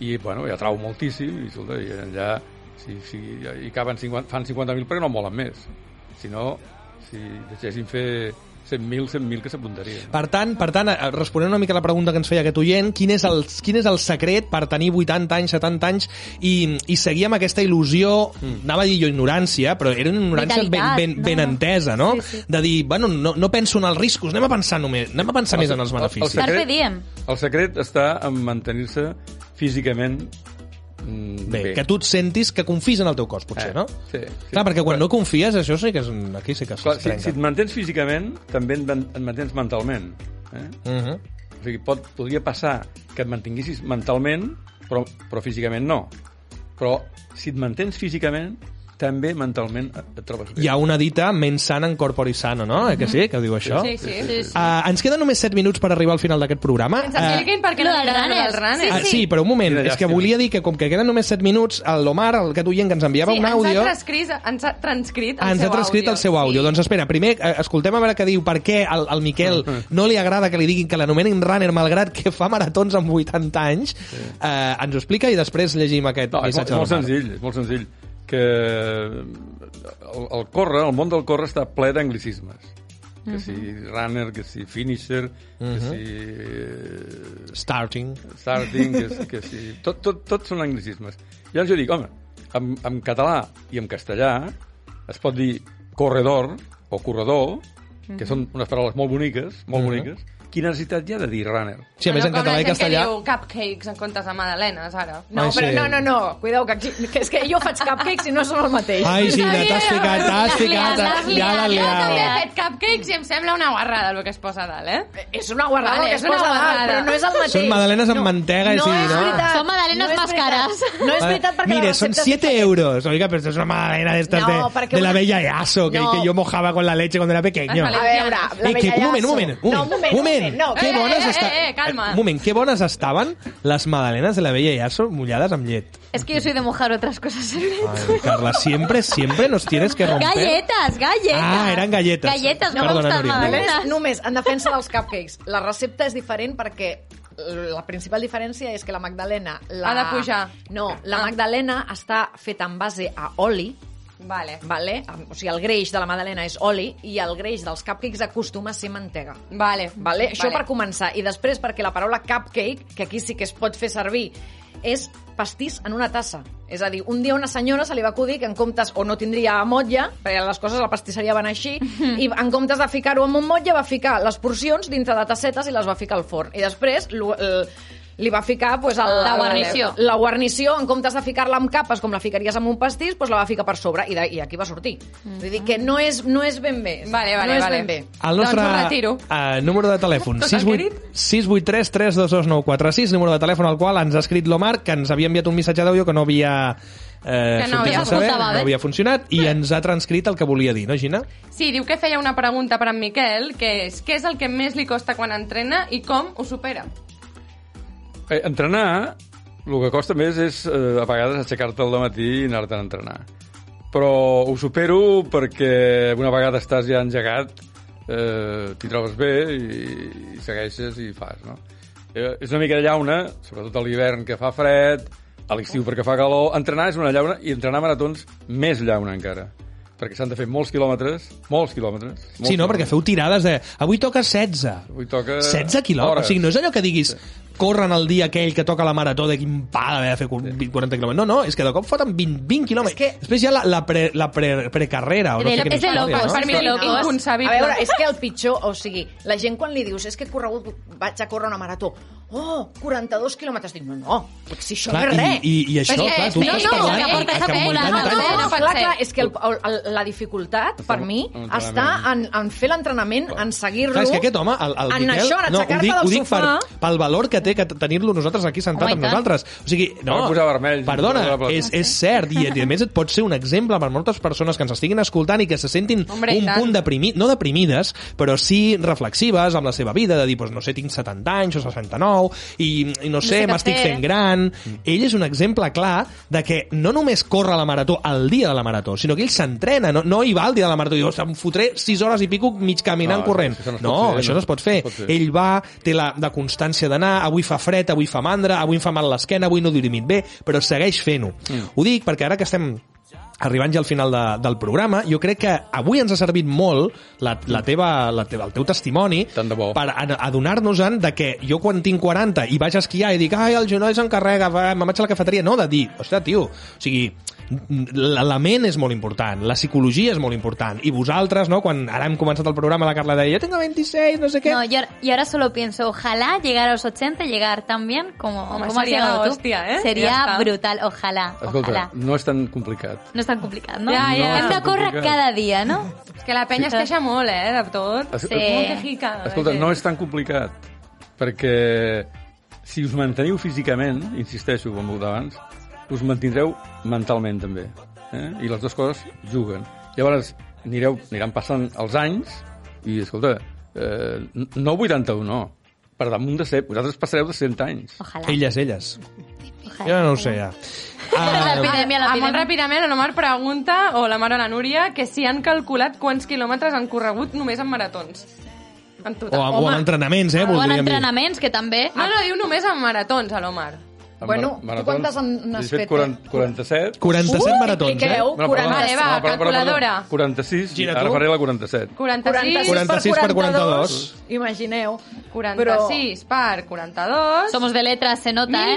Speaker 4: i, bueno, ja trau moltíssim, i, escolta, i allà, si, si hi caben 50, fan 50.000, perquè no en volen més. Si no, si deixessin fer 100.000, 100.000 que s'apuntarien.
Speaker 1: Per tant, per tant, eh, responent una mica a la pregunta que ens feia aquest oient, quin és el, quin és el secret per tenir 80 anys, 70 anys i, i seguir amb aquesta il·lusió, anava a dir jo ignorància, però era una ignorància ben,
Speaker 14: Vitalitat,
Speaker 1: ben,
Speaker 14: no,
Speaker 1: ben
Speaker 14: no.
Speaker 1: entesa, no? Sí, sí. De dir, bueno, no, no penso en els riscos, anem a pensar només, anem a pensar més en els beneficis.
Speaker 2: Carpe diem.
Speaker 4: El secret està en mantenir-se físicament mm,
Speaker 1: Bé, que tu et sentis que confis en el teu cos, potser,
Speaker 4: Eh,
Speaker 1: no?
Speaker 4: sí,
Speaker 1: Clar, perquè quan no confies, això sí que és... un- Aquí sí que es
Speaker 4: Clar, si,
Speaker 1: trenca.
Speaker 4: si et mantens físicament, també et, man- et mantens mentalment. Eh?
Speaker 1: Uh -huh.
Speaker 4: O sigui, pot, podria passar que et mantinguessis mentalment, però, però físicament no. Però si et mantens físicament, també mentalment et, et trobes bé.
Speaker 1: Hi ha una dita, mens sana en corpore sano, no? Eh que sí, que ho diu això?
Speaker 3: Sí, sí. sí, sí.
Speaker 1: Uh, ens queden només 7 minuts per arribar al final d'aquest programa.
Speaker 3: Ens expliquin per què
Speaker 2: Lo
Speaker 3: no
Speaker 2: del
Speaker 3: li agraden
Speaker 2: runner.
Speaker 3: els runners.
Speaker 1: ah, sí, però un moment,
Speaker 4: Quina
Speaker 1: és que
Speaker 4: llàstima.
Speaker 1: volia dir que com que queden només 7 minuts, l'Omar, el que oient que ens enviava
Speaker 3: sí,
Speaker 1: un àudio,
Speaker 3: Ens ha transcrit, ens ha transcrit el
Speaker 1: Ah, ens
Speaker 3: seu
Speaker 1: ha transcrit
Speaker 3: àudio.
Speaker 1: el seu àudio. Doncs espera, primer eh, escoltem a veure què diu, per què al, al Miquel no li agrada que li diguin que l'anomenin runner, malgrat que fa maratons amb 80 anys. Eh, ens ho explica i després llegim aquest
Speaker 4: No, és, molt,
Speaker 1: missatge.
Speaker 4: és molt
Speaker 1: de l'Omar.
Speaker 4: senzill, és molt senzill que el, el córrer, el món del córrer està ple d'anglicismes. Que
Speaker 1: Mhm.
Speaker 4: si runner, que si finisher, que
Speaker 1: Mhm.
Speaker 4: si... eh,
Speaker 1: Starting.
Speaker 4: Starting, que, que si... Tot, tot, tot són anglicismes. I ara jo dic, home, en, en català i en castellà es pot dir corredor o corredor, que
Speaker 3: Mhm.
Speaker 4: són unes paraules molt boniques, molt
Speaker 1: Mhm.
Speaker 4: boniques. Quina necessitat hi ha de dir runner?
Speaker 1: Sí, a més, en
Speaker 3: Com la
Speaker 1: català i
Speaker 3: gent
Speaker 1: castellà...
Speaker 3: que diu cupcakes en comptes de magdalenes, ara.
Speaker 5: No,
Speaker 1: Ai,
Speaker 5: però
Speaker 1: sí.
Speaker 5: no, no, no, cuideu, que, aquí, que és que jo faig cupcakes i no són el mateix.
Speaker 1: Ai, Gina, t'has ficat, t'has ficat, ja l'ha
Speaker 3: Jo també he
Speaker 1: liat.
Speaker 3: fet cupcakes i em sembla una guarrada el que es posa a dalt, eh?
Speaker 5: És una guarrada,
Speaker 3: Vamos,
Speaker 5: es posa a dalt, però no és el mateix.
Speaker 1: Són magdalenes amb mantega i sí, no?
Speaker 2: Són magdalenes
Speaker 5: és
Speaker 2: más
Speaker 5: veritat.
Speaker 2: caras.
Speaker 5: No és veritat perquè...
Speaker 1: Mire,
Speaker 5: la
Speaker 1: son
Speaker 5: recepta-
Speaker 1: 7 euros. Oiga, pero esto es una madera de estas
Speaker 5: No,
Speaker 1: de,
Speaker 5: porque
Speaker 1: de la
Speaker 5: una-
Speaker 1: bella Yaso, que,
Speaker 5: No.
Speaker 1: que yo mojaba con la leche cuando era pequeño.
Speaker 5: A veure, la
Speaker 1: Eh, que, un
Speaker 5: Bella
Speaker 1: moment, un moment,
Speaker 5: Llaço.
Speaker 1: un
Speaker 5: No,
Speaker 1: moment, un moment,
Speaker 5: no.
Speaker 1: que
Speaker 5: Eh,
Speaker 1: bones
Speaker 5: eh,
Speaker 1: està-
Speaker 5: eh, eh, calma.
Speaker 1: Un moment, que bones estaven les magdalenes de la Bella Yaso mullades amb llet.
Speaker 2: Es que yo soy de mojar otras cosas ¿eh? en leche.
Speaker 1: Ay, Carla, siempre, siempre nos tienes que romper.
Speaker 2: Galletas, galletas.
Speaker 1: Ah, eran galletes.
Speaker 2: Galletes, no
Speaker 1: Perdona,
Speaker 2: me gustan
Speaker 1: Núria.
Speaker 2: magdalenas.
Speaker 5: Només, només, en defensa dels cupcakes, la recepta és diferent perquè la principal diferència és que la magdalena... La...
Speaker 3: Ha de pujar.
Speaker 5: No, la magdalena està feta en base a oli,
Speaker 3: Vale.
Speaker 5: Vale? O sigui, el greix de la madalena és oli i el greix dels cupcakes acostuma a ser mantega.
Speaker 3: Vale.
Speaker 5: Vale? Això per començar. I després, perquè la paraula cupcake, que aquí sí que es pot fer servir, és pastís en una tassa. És a dir, un dia a una senyora se li va acudir que en comptes, o no tindria motlla, perquè les coses a la pastisseria van així, i en comptes de ficar-ho amb un motlla va ficar les porcions dintre de tassetes i les va ficar al forn. I després lo- el- li va ficar pues, el,
Speaker 2: La guarnició.
Speaker 5: La guarnició, en comptes de ficar-la amb capes com la ficaries amb un pastís, pues, la va ficar per sobre i, de, i aquí va sortir. Vull dir que no és, no és ben bé. Vale,
Speaker 3: vale,
Speaker 5: no és
Speaker 3: vale.
Speaker 5: ben bé.
Speaker 1: El nostre eh, número de telèfon, 68 683 322946, número de telèfon al qual ens ha escrit l'Omar, que ens havia enviat un missatge d'àudio que no havia... Eh,
Speaker 3: Que no
Speaker 1: sortit
Speaker 3: havia
Speaker 1: a saber,
Speaker 3: escoltat,
Speaker 1: no
Speaker 3: eh?
Speaker 1: havia funcionat i ens ha transcrit el que volia dir, no, Gina?
Speaker 3: Sí, diu que feia una pregunta per en Miquel, que és què és el que més li costa quan entrena i com ho supera?
Speaker 4: Eh, entrenar, el que costa més és eh, a vegades aixecar-te al matí i anar-te'n a entrenar. Però ho supero perquè una vegada estàs ja engegat, eh, t'hi trobes bé i, i segueixes i fas, no? Eh, és una mica de llauna, sobretot a l'hivern que fa fred, a l'estiu perquè fa calor. Entrenar és una llauna i entrenar maratons més llauna encara perquè s'han de fer molts quilòmetres, molts quilòmetres. Molts
Speaker 1: Sí, no, perquè feu tirades de... Avui toca 16.
Speaker 4: Avui toca...
Speaker 1: 16 quilòmetres.
Speaker 4: hores.
Speaker 1: O sigui, no és allò que diguis corren el dia aquell que toca la marató de quin pal haver de fer 40 quilòmetres. No, no, és que de cop foten 20, 20 quilòmetres. Que... Després hi ha la, la, pre, la pre, precarrera. O no sé quina història, no?
Speaker 5: Per mi de locos.
Speaker 3: Inconcebible.
Speaker 5: A veure, és que el pitjor, o sigui, la gent quan li dius és que he corregut, vaig a córrer una marató, oh, 42 quilòmetres, dic, no, no, dic, si això
Speaker 1: Clar,
Speaker 5: no és
Speaker 1: i-
Speaker 5: res.
Speaker 1: i- i això,
Speaker 5: Perquè-
Speaker 1: clar, tu
Speaker 5: no,
Speaker 1: estàs
Speaker 5: no,
Speaker 1: parlant
Speaker 5: eh,
Speaker 1: que portes
Speaker 5: que
Speaker 1: acumulant
Speaker 5: no,
Speaker 1: tants
Speaker 5: no,
Speaker 1: anys.
Speaker 5: clar, clar, és que el, el, la dificultat, per mi,
Speaker 1: un entrenament.
Speaker 5: està en, en fer l'entrenament, en seguir-lo,
Speaker 1: Clar, és que aquest home, el, el
Speaker 5: en
Speaker 1: Miquel...
Speaker 5: això, en
Speaker 1: no, ho
Speaker 5: aixecar-te
Speaker 1: dic, ho
Speaker 5: del
Speaker 1: dic per,
Speaker 5: sofà...
Speaker 1: pel valor que té que t- tenir-lo nosaltres aquí sentat
Speaker 5: Home, i
Speaker 1: amb
Speaker 5: tant.
Speaker 1: nosaltres. O sigui, no,
Speaker 4: Em va posar vermell.
Speaker 1: perdona,
Speaker 4: Em va posar
Speaker 1: és, és cert, i, i a més et pot ser un exemple per moltes persones que ens estiguin escoltant i que se sentin
Speaker 4: Hombre, i
Speaker 1: un
Speaker 4: tant.
Speaker 1: punt deprimit, no deprimides, però sí reflexives amb la seva vida, de dir, doncs, no sé, tinc 70 anys o 69, i, i no
Speaker 14: No sé
Speaker 1: sé,
Speaker 14: què
Speaker 1: m'estic
Speaker 14: fer.
Speaker 1: fent gran...
Speaker 4: Mm.
Speaker 1: Ell és un exemple clar de que no només corre la marató el dia de la marató, sinó que ell s'entrena, no, no hi va el dia de la marató, i diu, "Ostres, em fotré 6 hores i pico mig caminant
Speaker 4: No,
Speaker 1: corrent.
Speaker 4: això no es pot
Speaker 1: no,
Speaker 4: fer,
Speaker 1: això
Speaker 4: no.
Speaker 1: no es pot fer.
Speaker 4: No es pot fer.
Speaker 1: Ell ell va, té la, la constància d'anar, avui fa fred, avui fa mandra, avui em fa mal l'esquena, avui no he dormit bé, però segueix fent-ho. Mm. Ho dic perquè ara que estem arribant ja al final de, del programa, jo crec que avui ens ha servit molt la, la teva, la teva, el teu testimoni per a- adonar-nos-en de que jo quan tinc 40 i vaig a esquiar i dic ai, el genoll s'encarrega, va, me'n vaig a la cafeteria, no, de dir, ostres, tio, o sigui, la, la ment és molt important, la psicologia és molt important, i vosaltres, no, quan ara hem començat el programa, la Carla deia, jo tinc 26, no sé què...
Speaker 2: No, y ahora, y ahora solo pienso, ojalá llegar a los 80, llegar tan bien como,
Speaker 3: Hombre,
Speaker 2: como has
Speaker 3: sería
Speaker 2: llegado
Speaker 3: la
Speaker 2: tú.
Speaker 3: hostia, ¿eh? Ya
Speaker 2: Sería
Speaker 3: está.
Speaker 2: brutal, ojalá,
Speaker 4: Escolta,
Speaker 2: ojalá.
Speaker 4: no és tan complicat.
Speaker 2: No es tan complicado, ¿no?
Speaker 3: Ya, ya.
Speaker 2: Hem de
Speaker 4: No,
Speaker 2: córrer
Speaker 4: complicat.
Speaker 2: cada dia, no?
Speaker 3: És que la penya es queixa molt, eh, de tot.
Speaker 4: Es- Sí.
Speaker 3: Molt quejica. la
Speaker 4: Escolta,
Speaker 3: gent.
Speaker 4: no és tan complicat, perquè si us manteniu físicament, insisteixo com ho d'abans, us mantindreu mentalment també. Eh? I les dues coses juguen. Llavors, anireu, aniran passant els anys i, escolta, eh, n- no 81, no. Per damunt de 100, vosaltres passareu de 100 anys.
Speaker 3: Ah,
Speaker 2: Ojalà.
Speaker 1: Elles, elles. Jo no ho sé, ja.
Speaker 2: l'epidèmia, l'epidèmia.
Speaker 3: Ah, Molt
Speaker 1: Eh,
Speaker 3: ràpidament, l'Omar pregunta, o la mare o la Núria, que si han calculat quants quilòmetres han corregut només en maratons. En
Speaker 1: O,
Speaker 3: total.
Speaker 1: amb, o amb entrenaments, eh,
Speaker 2: O en
Speaker 1: voldríem dir.
Speaker 2: entrenaments, que també...
Speaker 3: No, no, diu només en maratons, a l'Omar.
Speaker 4: Bueno,
Speaker 3: tu quantes en- n'has
Speaker 4: He fet
Speaker 3: fet? eh?
Speaker 4: 40, 47.
Speaker 1: 47 Uh, maratons, eh?
Speaker 3: tripliqueu,
Speaker 4: Bueno, perdona,
Speaker 3: 40. Vale, va,
Speaker 4: no, perdona, perdona,
Speaker 3: calculadora.
Speaker 4: 46,
Speaker 1: Gira,
Speaker 4: ara
Speaker 1: tu.
Speaker 4: faré la 47.
Speaker 3: 46,
Speaker 1: 46 per 42.
Speaker 5: Imagineu.
Speaker 3: 46 per
Speaker 2: ah,
Speaker 3: 42.
Speaker 2: Somos de tota, letras, se nota,
Speaker 5: eh?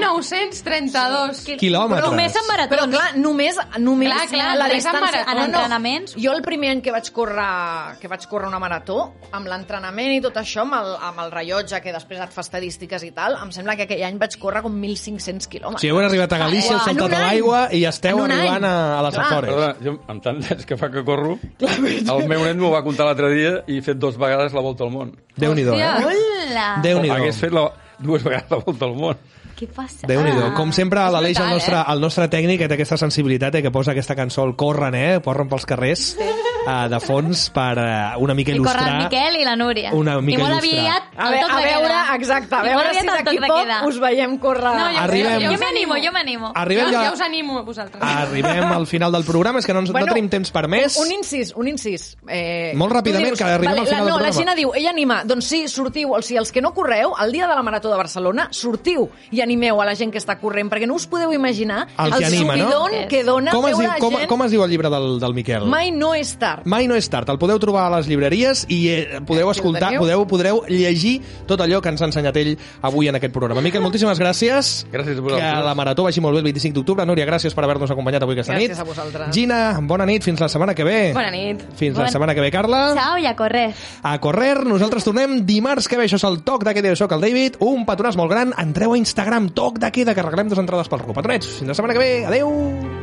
Speaker 3: 1932. Sí.
Speaker 1: Quilòmetres. Només en
Speaker 2: maratons.
Speaker 5: Però clar, només, només
Speaker 2: doncs- Clar, clar,
Speaker 5: la
Speaker 2: només en
Speaker 5: distància.
Speaker 2: maratons. En entrenaments.
Speaker 5: Jo el primer any que vaig córrer, que vaig córrer una marató, amb l'entrenament i tot això, amb el, amb el rellotge que després et fa estadístiques i tal, em sembla que aquell any vaig córrer com 1.500 quilòmetres.
Speaker 1: Si heu arribat a Galícia, heu
Speaker 5: Uau.
Speaker 1: saltat
Speaker 5: En un
Speaker 1: a
Speaker 5: any.
Speaker 1: l'aigua i esteu
Speaker 5: En un
Speaker 1: arribant
Speaker 5: any.
Speaker 1: a- a les Açores.
Speaker 4: Perdona, jo, amb tant d'anys que fa que corro, el meu net m'ho va contar l'altre dia i he fet dues vegades la volta al món.
Speaker 1: Déu-n'hi-do, eh?
Speaker 2: Hola!
Speaker 1: Déu-n'hi-do.
Speaker 4: Hagués fet la, dues vegades la volta al món.
Speaker 2: Què passa?
Speaker 1: déu nhi Com sempre,
Speaker 2: És
Speaker 1: l'Aleix, el,
Speaker 2: Ah, brutal,
Speaker 1: nostre,
Speaker 2: eh?
Speaker 1: el nostre tècnic, que té aquesta sensibilitat eh, que posa aquesta cançó al corren, eh? Corren pels carrers eh, de fons per eh, una mica
Speaker 2: I corre el
Speaker 1: il·lustrar...
Speaker 2: Miquel i la Núria.
Speaker 1: Una mica
Speaker 2: I molt
Speaker 1: il·lustrar.
Speaker 2: aviat
Speaker 5: A, ve, a veure, exacte, a veure si d'aquí poc us veiem córrer.
Speaker 2: No,
Speaker 1: jo- Arribem.
Speaker 2: Jo m'animo, jo m'animo.
Speaker 1: Arribem
Speaker 3: jo,
Speaker 1: ja- Ah,
Speaker 3: ja us animo a vosaltres.
Speaker 1: Arribem al final del programa, és que no, ens, no tenim temps per més.
Speaker 5: Un, un incís, un incís. Eh,
Speaker 1: Molt ràpidament,
Speaker 5: tu dius,
Speaker 1: que arribem al final
Speaker 5: la,
Speaker 1: del
Speaker 5: No, la
Speaker 1: programa.
Speaker 5: Gina diu, ella anima, doncs sí, sortiu, o sigui, els que no correu, el dia de la Marató de Barcelona, sortiu i animeu a la gent que està corrent, perquè no us podeu imaginar
Speaker 1: El que anima, no?
Speaker 5: subidon que dona
Speaker 1: com es,
Speaker 5: veure
Speaker 1: diu, com,
Speaker 5: gent...
Speaker 1: com es diu el llibre del, del Miquel?
Speaker 5: Mai no és tard.
Speaker 1: Mai no és tard, el podeu trobar a les llibreries i eh, podeu
Speaker 5: el
Speaker 1: escoltar,
Speaker 5: teniu.
Speaker 1: podeu, podreu llegir tot allò que ens ha ensenyat ell avui en aquest programa. Miquel, moltíssimes gràcies.
Speaker 4: Gràcies a
Speaker 1: Que la marató vagi molt bé el 25 d'octubre. Núria, gràcies per haver-nos acompanyat avui aquesta nit.
Speaker 5: Gràcies a vosaltres.
Speaker 1: Gina, bona nit, fins la setmana que ve.
Speaker 5: Bona nit.
Speaker 1: Fins la
Speaker 2: Bona-
Speaker 1: setmana que ve, Carla.
Speaker 2: Chao i a correr.
Speaker 1: A correr, nosaltres tornem dimarts que ve, això és el Toc de Queda, jo soc el David, un petonàs molt gran, entreu a Instagram, Toc de Queda, que regalem dues entrades pel RUC. Petonets, fins la setmana que ve, adeu!